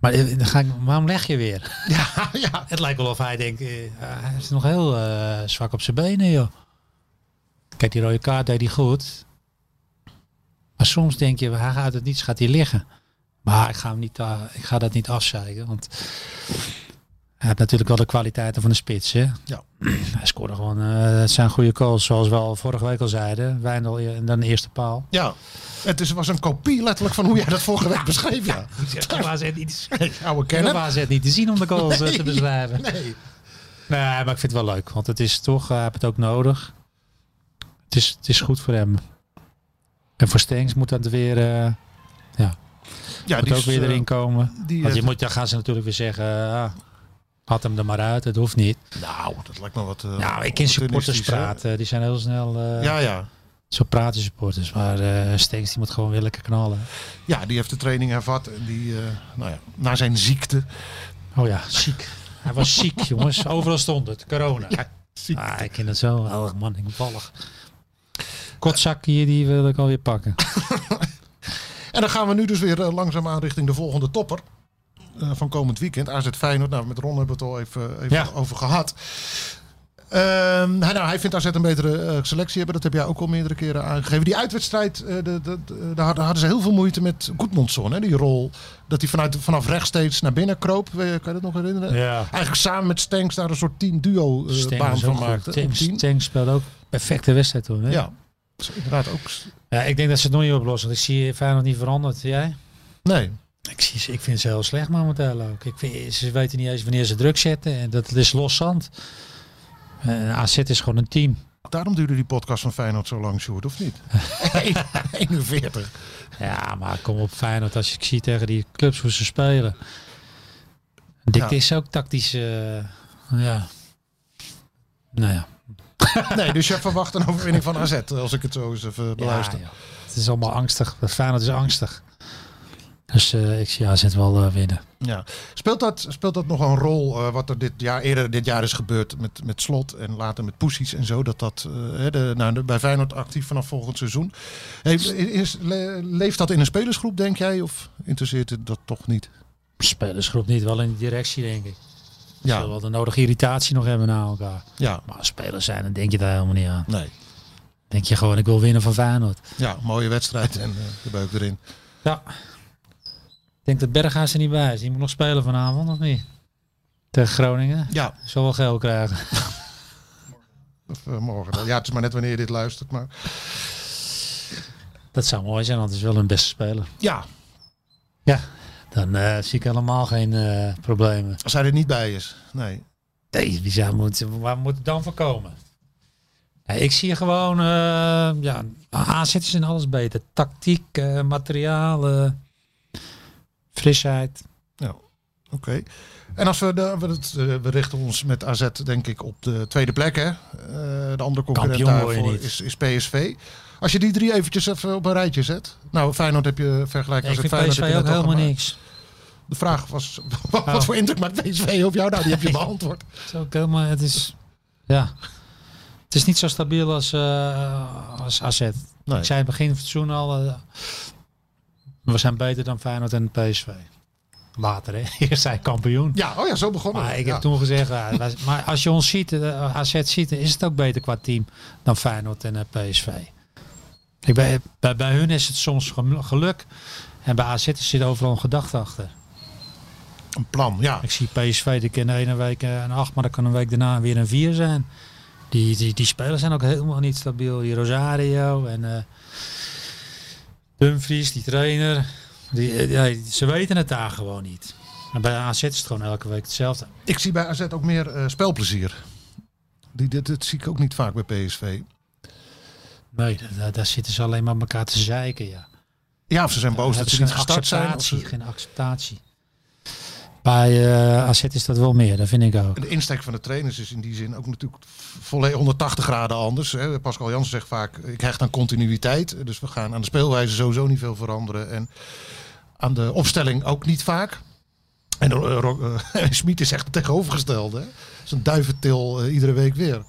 S5: Maar eh, dan ga ik, waarom leg je weer?
S4: Ja, ja.
S5: Het lijkt wel of hij denkt, eh, hij is nog heel eh, zwak op zijn benen, joh. Kijk, die rode kaart deed hij goed. Maar soms denk je, hij gaat uit het niets, gaat hij liggen. Maar ik ga, hem niet, eh, ik ga dat niet afzeiken, want hij heeft natuurlijk wel de kwaliteiten van de spits, hè?
S4: Ja.
S5: Hij scoorde gewoon, eh, het zijn goede calls, zoals we al vorige week al zeiden. Wijndal eh, en dan de eerste paal.
S4: ja. Het is, was een kopie letterlijk van hoe jij dat vorige week beschreef. Ja.
S5: Dat was het niet,
S4: Oude
S5: dat
S4: kenner.
S5: was het niet te zien om de goals eh, te beschrijven.
S4: Nee.
S5: Nee, maar ik vind het wel leuk. Want het is toch, eh, hij heeft het ook nodig. Het is, het is goed voor hem. En voor Stengs moet dat weer, eh,
S4: Ja,
S5: moet ook
S4: is,
S5: weer
S4: eh,
S5: erin komen.
S4: die eh,
S5: want je
S4: heeft-
S5: moet, dan gaan ze natuurlijk weer zeggen, ah, had hem er maar uit, het hoeft niet.
S4: Nou, dat lijkt me wat. eh,
S5: nou, ik ken supporters
S4: opportunistisch, hè.
S5: praten, die zijn heel snel, eh,
S4: Ja, ja.
S5: zo praten supporters. Maar eh Stengs die moet gewoon weer lekker knallen.
S4: ja, die heeft de training hervat. En die, eh, nou ja, na zijn ziekte.
S5: Oh ja, ziek. Hij was ziek, jongens. Overal stond het, corona.
S4: ziek.
S5: Ah, ik ken het zo. Oh man, ik ben vallig. Kotzak hier, die wil ik alweer pakken.
S4: En dan gaan we nu dus weer eh, langzaamaan richting de volgende topper. Eh, eh, van komend weekend. AZ Feyenoord, nou met Ron hebben we het al even, even
S5: Ja.
S4: over gehad. Ehm, hij, nou, hij vindt AZ een betere eh, selectie hebben. Dat heb jij ook al meerdere keren aangegeven. Die uitwedstrijd, eh, de- de- de- daar hadden hadden ze heel veel moeite met Goedmondsson. Hè, die rol dat hij vanuit, vanaf rechtstreeks naar binnen kroop. Eh, Kan je dat nog herinneren?
S5: Ja.
S4: Eigenlijk samen met Stenks daar een soort team duo eh, baan van maakte. Een team.
S5: Tank speelde ook perfecte wedstrijd toen. Hè?
S4: Ja, Dat is inderdaad ook... s-
S5: Ja, ik denk dat ze het nog niet oplossen. Want ik zie Feyenoord niet veranderd. Jij?
S4: Nee,
S5: Ik, zie, ze- ik vind ze heel slecht momenteel ook. Ik vind, ze weten niet eens wanneer ze druk zetten. En dat is los zand. Eh, AZ is gewoon een team.
S4: daarom duurde die podcast van Feyenoord zo lang, Sjoerd, of niet? 41.
S5: Ja, maar kom op Feyenoord. Als je ik zie tegen die clubs hoe ze spelen. Dik
S4: Ja.
S5: is ook tactisch. eh, ja. Nou ja.
S4: Nee, dus jij verwacht een overwinning van AZ, als ik het zo eens even beluister.
S5: Ja, joh. Het is allemaal angstig. Feyenoord is angstig. Dus eh, ik zie AZ wel eh, winnen.
S4: Ja. Speelt, dat, speelt dat nog een rol, eh, wat er dit jaar, eerder dit jaar is gebeurd met, met Slot en later met Poesies en zo, dat dat eh, hè, de, nou, de- bij Feyenoord actief vanaf volgend seizoen. Heeft, is, le- leeft dat in een spelersgroep, denk jij, of interesseert het dat toch niet?
S5: Spelersgroep niet, wel in die directie denk ik. Ja.
S4: Ja,
S5: wel de nodige irritatie nog hebben na elkaar.
S4: ja.
S5: Maar als spelers zijn, dan denk je daar helemaal niet aan.
S4: Nee.
S5: Denk je gewoon, ik wil winnen van Feyenoord.
S4: Ja, mooie wedstrijd en eh, de beuk erin.
S5: Ja. Ik denk dat Berghuis er niet bij is. Die moet nog spelen vanavond, of niet? Tegen Groningen.
S4: Ja,
S5: Zal wel geld krijgen.
S4: of, eh, morgen. Ja, het is maar net wanneer je dit luistert, maar...
S5: Dat zou mooi zijn, want het is wel een beste speler.
S4: Ja,
S5: Ja. Dan eh, zie ik helemaal geen eh, problemen.
S4: als hij er niet bij is. Nee.
S5: Nee, wie zou moet, waar moet het dan voor komen? Ja, ik zie gewoon, eh ja, AZ is in alles beter. Tactiek, eh, materiaal, eh, frisheid.
S4: Oké. En als we, de, we, het, eh, we richten ons met AZ denk ik op de tweede plek. Hè? Eh, de andere concurrent
S5: Kampioen word je
S4: daarvoor
S5: niet.
S4: is, is PSV. Als je die drie eventjes even op een rijtje zet. Nou, Feyenoord heb je vergelijking
S5: ik
S4: als
S5: vind
S4: het Feyenoord.
S5: PSV
S4: heb je
S5: ook
S4: net al
S5: helemaal
S4: gemaakt.
S5: niks.
S4: De vraag was, wat
S5: Oh.
S4: voor indruk maakt PSV op jou? Nou, die heb je beantwoord.
S5: Het is ook helemaal, het is, ja. Het is niet zo stabiel als, eh, als AZ.
S4: Nee.
S5: Ik zei in het begin van het seizoen al, eh, we zijn beter dan Feyenoord en PSV. Later, hè. Eerst zijn kampioen.
S4: Ja, oh ja, zo begonnen
S5: Maar
S4: we.
S5: ik
S4: ja.
S5: heb toen gezegd, ja, wij- maar als je ons ziet, eh, AZ ziet, dan is het ook beter qua team dan Feyenoord en eh, PSV. Ik ben, bij, bij hun is het soms gem- geluk en bij AZ zit overal een gedachte achter.
S4: Een plan, ja.
S5: Ik zie PSV, die kan de ene week eh, een 8, maar dan kan een week daarna weer een 4 zijn. Die, die, die spelers zijn ook helemaal niet stabiel. Die Rosario en eh, Dumfries, die trainer. Die, eh, ja, ze weten het daar gewoon niet. En bij AZ is het gewoon elke week hetzelfde.
S4: Ik zie bij AZ ook meer eh, spelplezier. Die, dit, dit zie ik ook niet vaak bij PSV.
S5: Nee, da- da- daar, zitten ze alleen maar op elkaar te zeiken, ja.
S4: Ja, of ze zijn boos
S5: Het
S4: dat
S5: is
S4: ze
S5: geen
S4: niet gestart zijn. of
S5: acceptatie,
S4: ze-
S5: Geen acceptatie. Bij eh, AZ is dat wel meer, dat vind ik ook.
S4: En de insteek van de trainers is in die zin ook natuurlijk volledig 180 graden anders. Hè. Pascal Jansen zegt vaak, ik hecht aan continuïteit. Dus we gaan aan de speelwijze sowieso niet veel veranderen. En aan de opstelling ook niet vaak. En eh, Ro- eh, Smit is echt het tegenovergestelde. hè. Het is een duiventil eh, iedere week weer.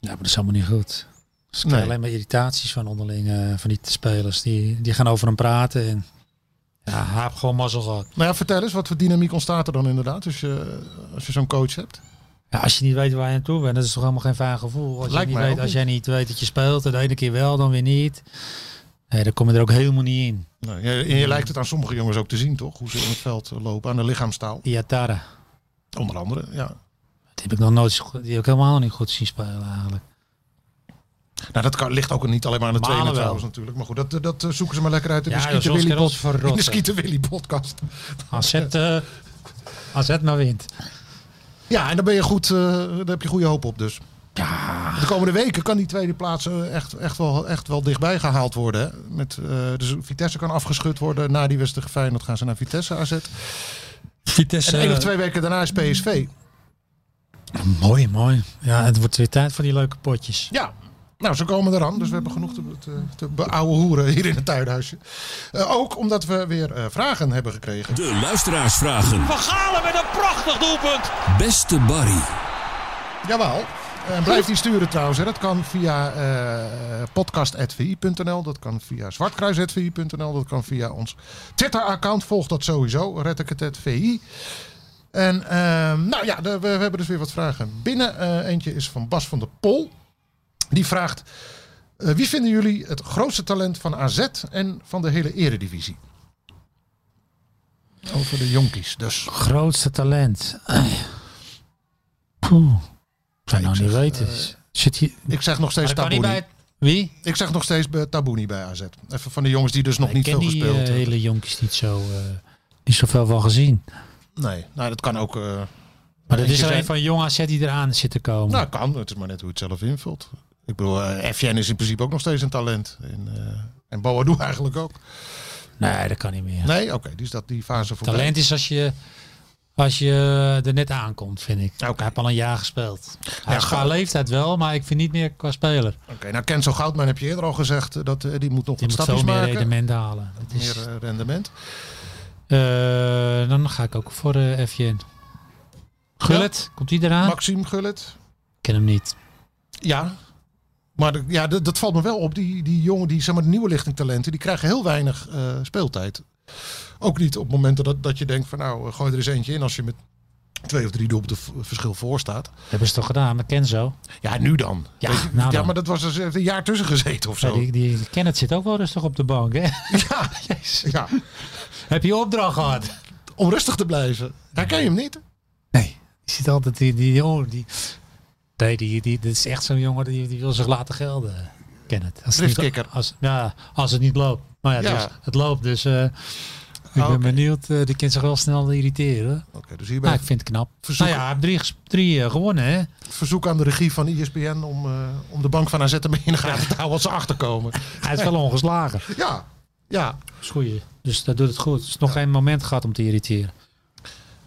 S5: Ja, maar dat is allemaal niet goed. Ze krijgen
S4: Nee.
S5: alleen maar irritaties van onderling, eh, van die spelers. Die, die gaan over hem praten en... Ja, hij heeft gewoon mazzel gehad.
S4: Nou ja, vertel eens, wat voor dynamiek ontstaat er dan inderdaad als je, als je zo'n coach hebt?
S5: Ja, als je niet weet waar je aan toe bent, dat is toch helemaal geen fijn gevoel. Als,
S4: Lijkt
S5: je niet
S4: mij
S5: weet,
S4: ook
S5: als
S4: niet.
S5: jij niet weet dat je speelt, de ene keer wel, dan weer niet. Nee, dan kom je er ook helemaal niet in.
S4: Nou, je, je lijkt het aan sommige jongens ook te zien, toch? Hoe ze in het veld lopen, aan de lichaamstaal.
S5: Iatara.
S4: Onder andere, ja.
S5: Die heb ik nog nooit zo goed- die heb ik helemaal niet goed zien spelen eigenlijk.
S4: Nou, dat kan, ligt ook niet alleen maar aan de
S5: Malen
S4: trainer
S5: wel.
S4: trouwens natuurlijk. Maar goed, dat, dat eh, zoeken ze maar lekker uit in de
S5: Ja, joh,
S4: Skeeter
S5: soms
S4: Willy,
S5: kan ons
S4: pod- in de
S5: verrotten.
S4: Skeeter Willy podcast.
S5: AZ, eh AZ maar wint.
S4: Ja, en dan ben je goed, eh, daar heb je goede hoop op dus. Ja. De komende weken kan die tweede plaats eh, echt, echt, wel, echt wel dichtbij gehaald worden. hè. Met, eh, dus Vitesse kan afgeschud worden. Na die wedstrijd tegen Feyenoord gaan ze naar Vitesse AZ. En
S5: Vitesse. eh,
S4: één of twee weken daarna is PSV.
S5: Mooi, mooi. Ja, het wordt weer tijd voor die leuke potjes.
S4: Ja. Nou, ze komen eraan, dus we hebben genoeg te, te, te beouwe hoeren hier in het tuinhuisje. Eh, ook omdat we weer eh, vragen hebben gekregen.
S7: De luisteraarsvragen.
S8: Van Galen met een prachtig doelpunt.
S7: Beste Barry.
S4: Jawel. En blijf die sturen trouwens. Hè. Dat kan via eh podcast.vi.nl. Dat kan via zwartkruis.vi.nl. Dat kan via ons Twitter-account. Volg dat sowieso. Red ik het at VI. En ehm, nou ja, de- we, we hebben dus weer wat vragen binnen. Eh, eentje is van Bas van der Pol. Die vraagt... eh, wie vinden jullie het grootste talent van AZ en van de hele eredivisie? Over de jonkies dus.
S5: Grootste talent. Poeh. Ik zou nou niet weten. Zit hier...
S4: Ik zeg nog steeds
S5: kan niet
S4: Tabouni.
S5: bij... Wie?
S4: Ik zeg nog steeds bij Tabouni bij AZ. Even van de jongens die dus nog
S5: ik
S4: niet
S5: ken
S4: veel
S5: die
S4: gespeeld
S5: eh,
S4: hebben.
S5: hele jonkies niet zo... eh, niet zoveel van gezien.
S4: Nee, nou, dat kan ook... eh
S5: Maar dat
S4: Eentje
S5: is alleen
S4: zijn-
S5: van jong AZ die eraan zit te komen.
S4: Nou, kan. Het is maar net hoe je het zelf invult. Ik bedoel, eh FN is in principe ook nog steeds een talent. En, eh en Boadu eigenlijk ook.
S5: nee, dat kan niet meer.
S4: Nee, Nou, oké, die is dat die fase voorbij.
S5: Talent is als je, als je er net aankomt, vind ik.
S4: Nou, Oké.
S5: Hij heeft al een jaar gespeeld. Hij
S4: Ja,
S5: is qua
S4: goed.
S5: leeftijd wel, maar ik vind niet meer qua speler.
S4: Oké, nou Kenzo Goudman heb je eerder al gezegd eh, dat eh, die moet nog
S5: Die
S4: wat
S5: moet
S4: stapjes
S5: veel meer
S4: maken.
S5: rendement halen. Het is,
S4: Meer eh, rendement.
S5: Eh, dan ga ik ook voor eh FJN. Gullet, komt die eraan?
S4: Maxime Gullit.
S5: Ik ken hem niet.
S4: Ja. Maar de- ja, dat, dat valt me wel op. Die, die jongen, die zeg maar, de nieuwe lichting talenten, die krijgen heel weinig eh, speeltijd. Ook niet op momenten dat, dat je denkt van nou, eh, gooi er eens eentje in als je met twee of drie doelpunten v- verschil voor staat.
S5: Dat hebben ze toch gedaan met Kenzo?
S4: Ja, nu dan.
S5: Ja,
S4: Weet je,
S5: nou
S4: ja
S5: dan.
S4: maar dat was dus even een jaar tussen gezeten of
S5: Ja,
S4: zo.
S5: die, die Kenneth zit ook wel rustig op de bank. Hè?
S4: Ja,
S5: Jezus.
S4: ja,
S5: Heb je opdracht gehad?
S4: om rustig te blijven. Herken je hem niet?
S5: Nee. Je ziet altijd die... die, jongen die nee, die, die, dit is echt zo'n jongen die, die wil zich laten gelden. Kenneth. Als het niet-
S4: Driftkikker.
S5: Als, ja, als het niet loopt. Maar ja, het,
S4: Ja. Ah,
S5: was- het loopt. Dus eh, ik ben
S4: Oké.
S5: benieuwd. eh, die kan zich wel snel irriteren.
S4: Oké, dus hierbij
S5: Maar ik vind het knap.
S4: Verzoek-
S5: Nou ja, hij heeft drie, ges- drie eh, gewonnen hè.
S4: verzoek aan de regie van ESPN om, eh, om de bank van AZ ermee in de gaten te houden als ze achterkomen.
S5: Hij is wel ongeslagen.
S4: Ja, ja.
S5: Is goeie. Dus dat doet het goed. Er is nog geen moment gehad om te irriteren.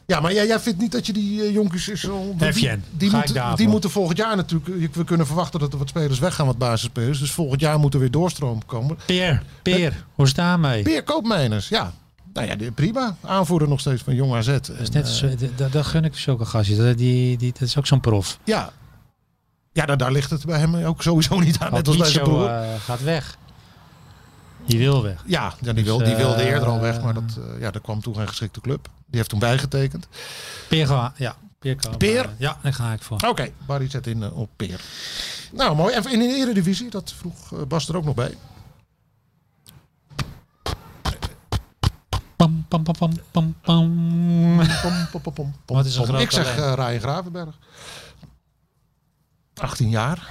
S4: ja maar jij, jij vindt niet dat je die eh, jonkies... Is, om- die,
S5: Efjen,
S4: die,
S5: ga ik
S4: moeten,
S5: daarvoor.
S4: die moeten volgend jaar natuurlijk... eh, We kunnen verwachten dat er wat spelers weggaan, wat basisspelers. Dus volgend jaar moet er weer doorstroom komen.
S5: Peer, Peer, Eh, hoe is het daarmee?
S4: Peer Koopmeiners, ja. Nou ja, die- prima. Aanvoerder nog steeds van Jong AZ. En, eh,
S5: Dat is net zo, d- d- dat gun ik dus ook een gastje. Dat, die, die, dat is ook zo'n prof.
S4: Ja. Ja, daar, daar ligt het bij hem ook sowieso niet aan. Ah, Net als bij zijn
S5: Micho,
S4: broer.
S5: eh, gaat weg. Die wil weg.
S4: ja, ja, die, wil,
S5: dus,
S4: die wilde
S5: eh,
S4: eerder al weg, maar dat, eh, ja, er kwam toen geen geschikte club. Die heeft toen bijgetekend.
S5: Peer, gaan- ja. Peer, kan-
S4: Peer?
S5: eh, Ja, daar ga ik voor.
S4: Oké, Barry zet in eh, op Peer. Nou, mooi. En in de Eredivisie, dat vroeg eh, Bas er ook nog bij.
S5: Pam, pam, pam, pam, pam, pam.
S4: Pom, pom, pom, pom, pom,
S5: Wat is een
S4: pom.
S5: groot
S4: Ik zeg eh
S5: talent.
S4: Ryan Gravenberg. 18 jaar.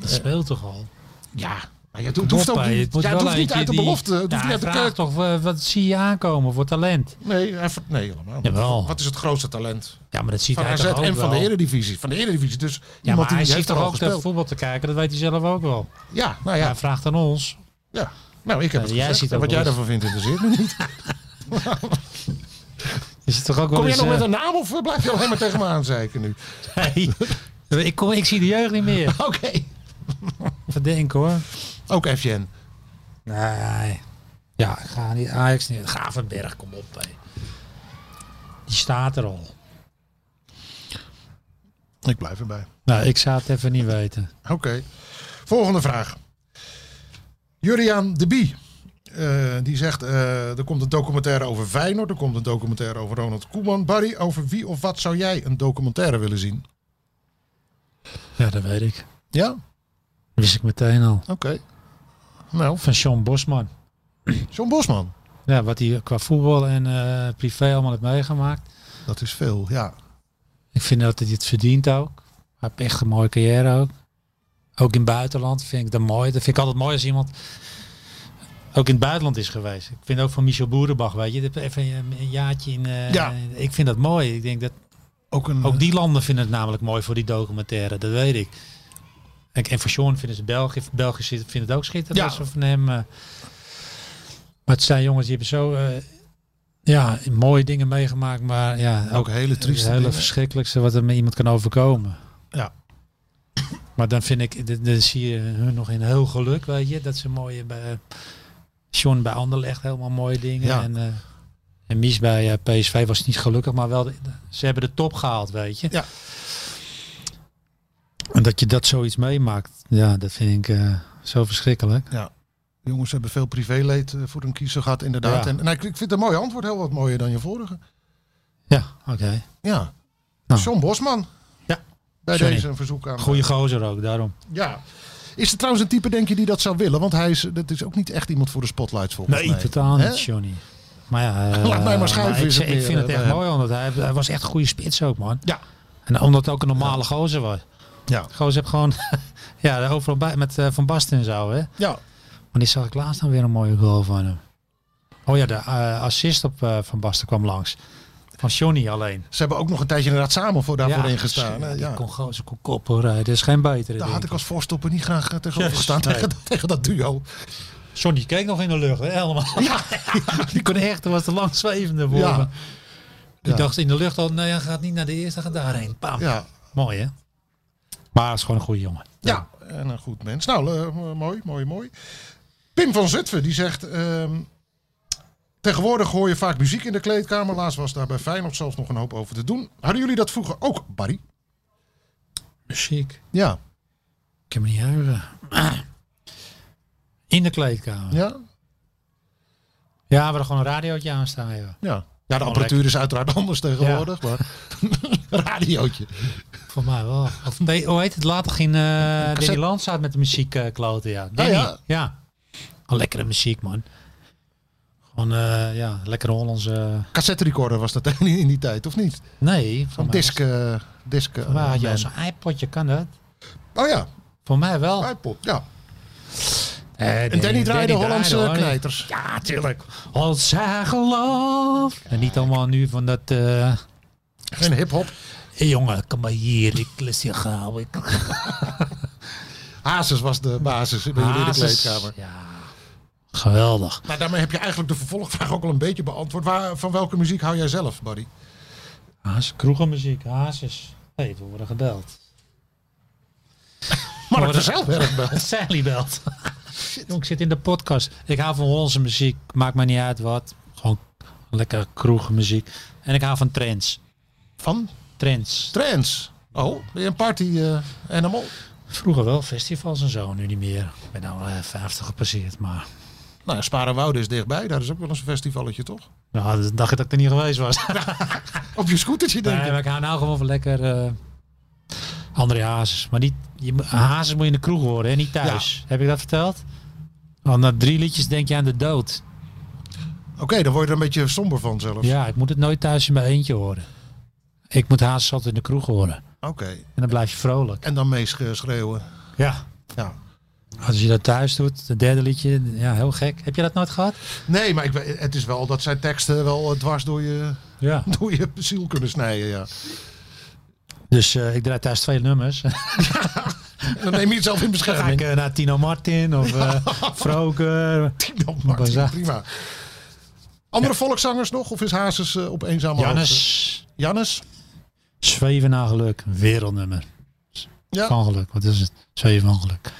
S5: Dat speelt toch al?
S4: Ja, maar je, het hoeft ook
S5: Hoppa,
S4: niet,
S5: moet
S4: ja, het
S5: wel
S4: hoeft niet
S5: eentje
S4: uit de
S5: die-
S4: belofte. Het hoeft
S5: Ja,
S4: niet uit de
S5: hij vraagt
S4: kerk.
S5: toch, eh, wat zie je aankomen voor talent?
S4: Nee, hij ver- nee, helemaal niet.
S5: Jawel.
S4: Wat is het grootste talent?
S5: Ja, maar dat ziet
S4: Van
S5: hij
S4: AZ
S5: toch ook
S4: en van de
S5: wel.
S4: Eredivisie. Van de Eredivisie. Dus
S5: Ja,
S4: iemand
S5: maar
S4: die
S5: hij
S4: heeft
S5: zit
S4: er
S5: toch
S4: al
S5: ook naar
S4: gespeeld.
S5: voetbal te kijken. Dat weet hij zelf ook wel.
S4: Ja, nou ja.
S5: Hij vraagt aan ons.
S4: Ja, nou, ik heb het
S5: Nou, jij
S4: gezegd.
S5: ziet
S4: En
S5: ook
S4: Wat
S5: wel
S4: jij
S5: eens-
S4: daarvan vindt, interesseert me niet.
S5: Is het toch ook wel
S4: Kom jij
S5: eens,
S4: nog
S5: eh,
S4: met een naam of eh, blijf je alleen maar tegen me aanzeiken nu?
S5: Nee. ik, kom, ik zie de jeugd niet meer.
S4: Oké.
S5: Verdenken hoor.
S4: Ook FJN.
S5: Nee. Ja, ik ga niet. Ajax niet. Gavenberg, kom op. hé. Die staat er al.
S4: Ik blijf erbij.
S5: Nou, ik zou het even niet weten.
S4: Oké. Volgende vraag. Juriaan de Bie. Eh, die zegt, eh, er komt een documentaire over Feyenoord. Er komt een documentaire over Ronald Koeman. Barry, over wie of wat zou jij een documentaire willen zien?
S5: Ja, dat weet ik.
S4: Ja,
S5: Wist ik meteen al.
S4: oké. Nou,
S5: Van Sean Bosman.
S4: John Bosman.
S5: Ja, wat hij qua voetbal en eh, privé allemaal heeft meegemaakt.
S4: Dat is veel, ja.
S5: Ik vind dat hij het verdient ook. Hij heeft echt een mooie carrière ook. Ook in het buitenland vind ik dat mooi. Dat vind ik altijd mooi als iemand ook in het buitenland is geweest. Ik vind ook van Michel Boerenbach, weet je, dat even een een jaartje in. eh,
S4: Ja.
S5: Ik vind dat mooi. Ik denk dat
S4: Ook een...
S5: ook die landen vinden het namelijk mooi voor die documentaire. Dat weet ik. En, en voor Sean vinden ze België, België zit- vindt het ook schitterend.
S4: Ja.
S5: als ze van hem. eh, maar het zijn jongens die hebben zo eh, ja mooie dingen meegemaakt, maar ja ook
S4: ook hele trieste
S5: het hele
S4: dingen.
S5: verschrikkelijkste wat er met iemand kan overkomen.
S4: Ja.
S5: Maar dan vind ik, dan- dan zie je hun nog in heel geluk, weet je, dat ze mooie bij eh, John bij Anderlecht helemaal mooie dingen
S4: Ja.
S5: en eh, en Mies bij eh, PSV was niet gelukkig, maar wel de- ze hebben de top gehaald, weet je.
S4: Ja.
S5: En dat je dat zoiets meemaakt, ja, dat vind ik eh, zo verschrikkelijk.
S4: Jongens hebben veel privéleed eh, voor hun kiezer gehad, inderdaad.
S5: Ja.
S4: En, nou, ik, ik vind het een mooi antwoord, heel wat mooier dan je vorige.
S5: Ja, oké.
S4: Ja.
S5: Nou.
S4: John Bosman.
S5: Ja.
S4: Bij
S5: Johnny.
S4: deze een verzoek aan. eh,
S5: Goeie gozer ook, daarom.
S4: Ja. Is er trouwens een type, denk je, die dat zou willen? Want hij is, dat is ook niet echt iemand voor de spotlights, volgens mij.
S5: totaal
S4: Hè?
S5: niet, Johnny. Maar ja, eh,
S4: Laat mij maar schuiven,
S5: ik,
S4: is het
S5: ik
S4: meer,
S5: vind het
S4: eh,
S5: echt
S4: bij hem.
S5: mooi, omdat hij, hij was echt een goede spits ook, man.
S4: Ja.
S5: En omdat het ook een normale gozer was.
S4: Ja.
S5: Gozer heb gewoon, ja, overal bij, met eh, Van Basten en zo, hè.
S4: Ja.
S5: Maar die zag ik laatst dan weer een mooie goal van hem. Oh ja, de eh, assist op eh, Van Basten kwam langs. Van Johnny alleen.
S4: Ze hebben ook nog een tijdje inderdaad samen voor daarvoor ingestaan. hè?
S5: Die
S4: Ja.
S5: kon gozer kon koppen, hoor. Er is geen betere.
S4: Daar
S5: denk
S4: had ik als voorstopper niet graag eh, tegenover
S5: Yes,
S4: gestaan
S5: nee.
S4: tegen, tegen dat duo.
S5: Johnny keek nog in de lucht, hè, helemaal.
S4: Ja.
S5: Die kon echt, er was de langzwevende voor
S4: Ja.
S5: me. Die
S4: Ja.
S5: dacht in de lucht al, nou ja, gaat niet naar de eerste, gaat daarheen. Bam.
S4: Ja.
S5: Mooi, hè? Maar het is gewoon een goede jongen.
S4: Ja, en een goed mens. Nou, eh, mooi, mooi, mooi. Pim van Zutphen, die zegt... ehm, tegenwoordig hoor je vaak muziek in de kleedkamer. Laatst was daar bij Feyenoord zelfs nog een hoop over te doen. Hadden jullie dat vroeger ook, Barry?
S5: Muziek.
S4: Ja.
S5: Ik heb me niet huilen. In de kleedkamer. Ja,
S4: Ja?
S5: we hadden gewoon een radiootje aanstaan, joh.
S4: Ja. Ja, de apparatuur is uiteraard anders tegenwoordig, maar een radiootje.
S5: Voor mij wel. Of, nee, hoe heet het? Later ging eh Danny Landsaat met de muziek eh, kloten, ja. Danny,
S4: ja.
S5: ja. Oh, lekkere muziek, man. Gewoon, eh, ja, lekkere Hollandse...
S4: Cassette recorder was dat in die, in die tijd, of niet?
S5: nee, van
S4: Van
S5: mij
S4: disc, eh, disc eh,
S5: was- Waar had je
S4: man.
S5: al zo'n iPodje, kan dat?
S4: Oh ja,
S5: Voor mij wel. Eh,
S4: iPod, ja.
S5: en
S4: En Danny draaide Hollandse knijters.
S5: Ja, tuurlijk. Als hij gelooft. En niet allemaal nu van dat... eh,
S4: Geen hip-hop.
S5: "Hé, jongen, kom maar hier. Ik lust je gauw. Ik...
S4: Hazes was de basis bij jullie in de
S5: Hazes.
S4: kleedkamer.
S5: Ja. Geweldig.
S4: Nou, daarmee heb je eigenlijk de vervolgvraag ook al een beetje beantwoord. Waar, van welke muziek hou jij zelf, Buddy?
S5: Hazes, kroegenmuziek. Hazes. Hé, hey, we worden gebeld.
S4: Maar dat
S5: dat-
S4: is zelf erg wel.
S5: Sally belt. Jong, ik zit in de podcast. Ik hou van Hollandse muziek. Maakt mij niet uit wat. Gewoon lekker kroegenmuziek. En ik hou van trends.
S4: Van
S5: Trends.
S4: Trends. Oh, ben je een party eh, animal?
S5: Vroeger wel festivals en zo, nu niet meer. Ik ben nou eh, 50 gepasseerd, maar
S4: Nou, ja, Sparenwoude is dichtbij. Daar is ook wel eens een festivalletje, toch?
S5: nou, dat dacht ik dat ik er niet geweest was.
S4: Op je scootertje,
S5: nee,
S4: denk ik.
S5: maar ik hou nou gewoon van lekker eh André Hazes. Maar niet, je, mo- Hazes moet je in de kroeg horen, hè? niet thuis. Heb ik dat verteld? Want na drie liedjes denk je aan de dood.
S4: Oké, dan word je er een beetje somber van zelfs.
S5: Ja, ik moet het nooit thuis in mijn eentje horen. Ik moet Hazes altijd in de kroeg horen.
S4: Oké.
S5: En dan blijf je vrolijk.
S4: En dan meeschreeuwen.
S5: Ja.
S4: Ja.
S5: Als je dat thuis doet, het derde liedje, ja, heel gek. Heb je dat nooit gehad?
S4: Nee, maar ik, we- het is wel dat zijn teksten wel eh, dwars door je,
S5: Ja.
S4: door je ziel kunnen snijden, ja.
S5: Dus eh, ik draai thuis twee nummers.
S4: En dan neem je het zelf in
S5: Dan ga ik
S4: bescherming.
S5: eh, naar Tino Martin of eh Froker.
S4: Dan maakt het
S5: Bazaar.
S4: prima. Andere volkszangers nog? Of is Hazes eh, op eenzame hoogte?
S5: Jannes.
S4: Jannes?
S5: Zweven naar geluk. Wereldnummer.
S4: Ja.
S5: Van geluk. Wat is het? Zweven van geluk.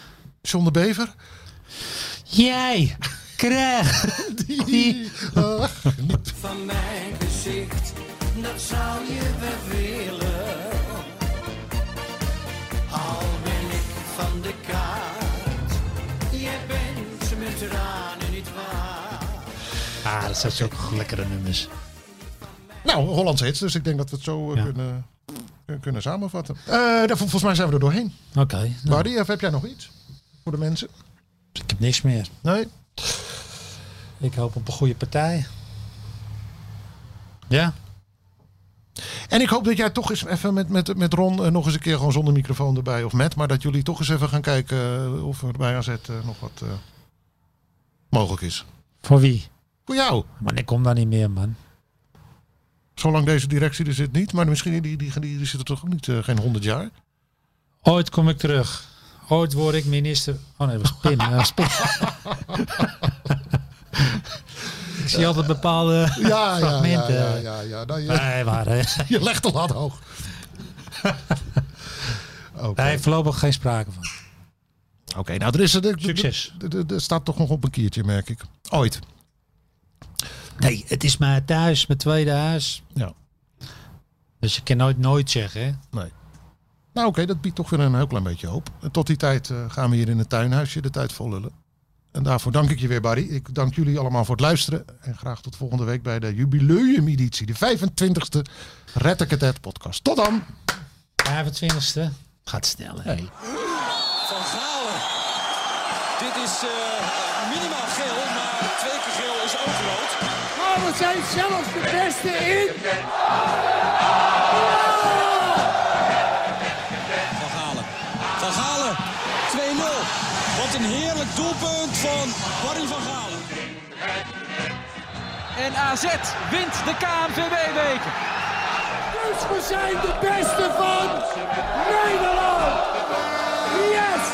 S4: John de Bever?
S5: Jij krijgt die
S4: Eh,
S7: van mijn gezicht, dat zou je wel willen. Al ben ik van de kaart, je bent met tranen niet waar.
S5: Ah, dat zijn ook lekkere nummers.
S4: Nou, Hollandse hits, dus ik denk dat we het zo eh,
S5: Ja.
S4: kunnen, kun- kunnen samenvatten. Eh, daar, vol- volgens mij zijn we er doorheen.
S5: Oké. nou,
S4: Barry, of heb jij nog iets voor de mensen?
S5: ik heb niks meer.
S4: Nee?
S5: Ik hoop op een goede partij. Ja.
S4: En ik hoop dat jij toch eens even met, met, met Ron eh, nog eens een keer gewoon zonder microfoon erbij of met, maar dat jullie toch eens even gaan kijken eh, of er bij AZ eh, nog wat eh, mogelijk is.
S5: Voor wie?
S4: Voor jou.
S5: Man, ik kom daar niet meer, man.
S4: Zolang deze directie er zit niet, maar misschien die, die, die, die zitten toch ook niet eh, geen honderd jaar.
S5: Ooit kom ik terug. Ooit word ik minister. Oh nee, dat was Pim. Dat was Pim. ik zie altijd bepaalde
S4: Ja, ja, ja,
S5: fragmenten.
S4: ja, ja, ja. Nou, je,
S5: Nee, waar, hè?
S4: je legt de lat hoog. Oké.
S5: Nee, voorlopig geen sprake van.
S4: Oké, nou, er is er- er-
S5: Succes.
S4: er- er- Er staat toch nog op een kiertje, merk ik. Ooit.
S5: Nee, het is mijn thuis, mijn tweede huis.
S4: Ja.
S5: Dus je kan nooit nooit zeggen, hè?
S4: Nee. Nou oké, dat biedt toch weer een heel klein beetje hoop. En tot die tijd eh, gaan we hier in het tuinhuisje de tijd vol lullen. En daarvoor dank ik je weer Barry. Ik dank jullie allemaal voor het luisteren. En graag tot volgende week bij de jubileumeditie. De 25e Red ik het Het podcast. Tot dan!
S5: 25e. Gaat snel, hè?
S1: Van Galen. Dit is eh, minimaal geel, maar twee keer geel is ook rood.
S2: Maar Oh, we zijn zelfs de beste in.
S1: Van Galen. Van Galen. 2-0. Wat een heerlijk doelpunt van Barry van Galen.
S8: En AZ wint de KNVB-beker.
S2: Dus we zijn de beste van Nederland. Yes!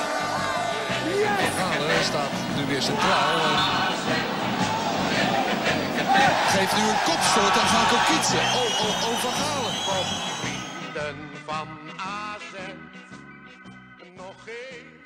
S2: Yes!
S3: Galen staat nu weer centraal. en Geeft nu een kopstoot aan Franco Kietse. Oh, oh, oh, Van Galen.
S9: vrienden van AZ nog even.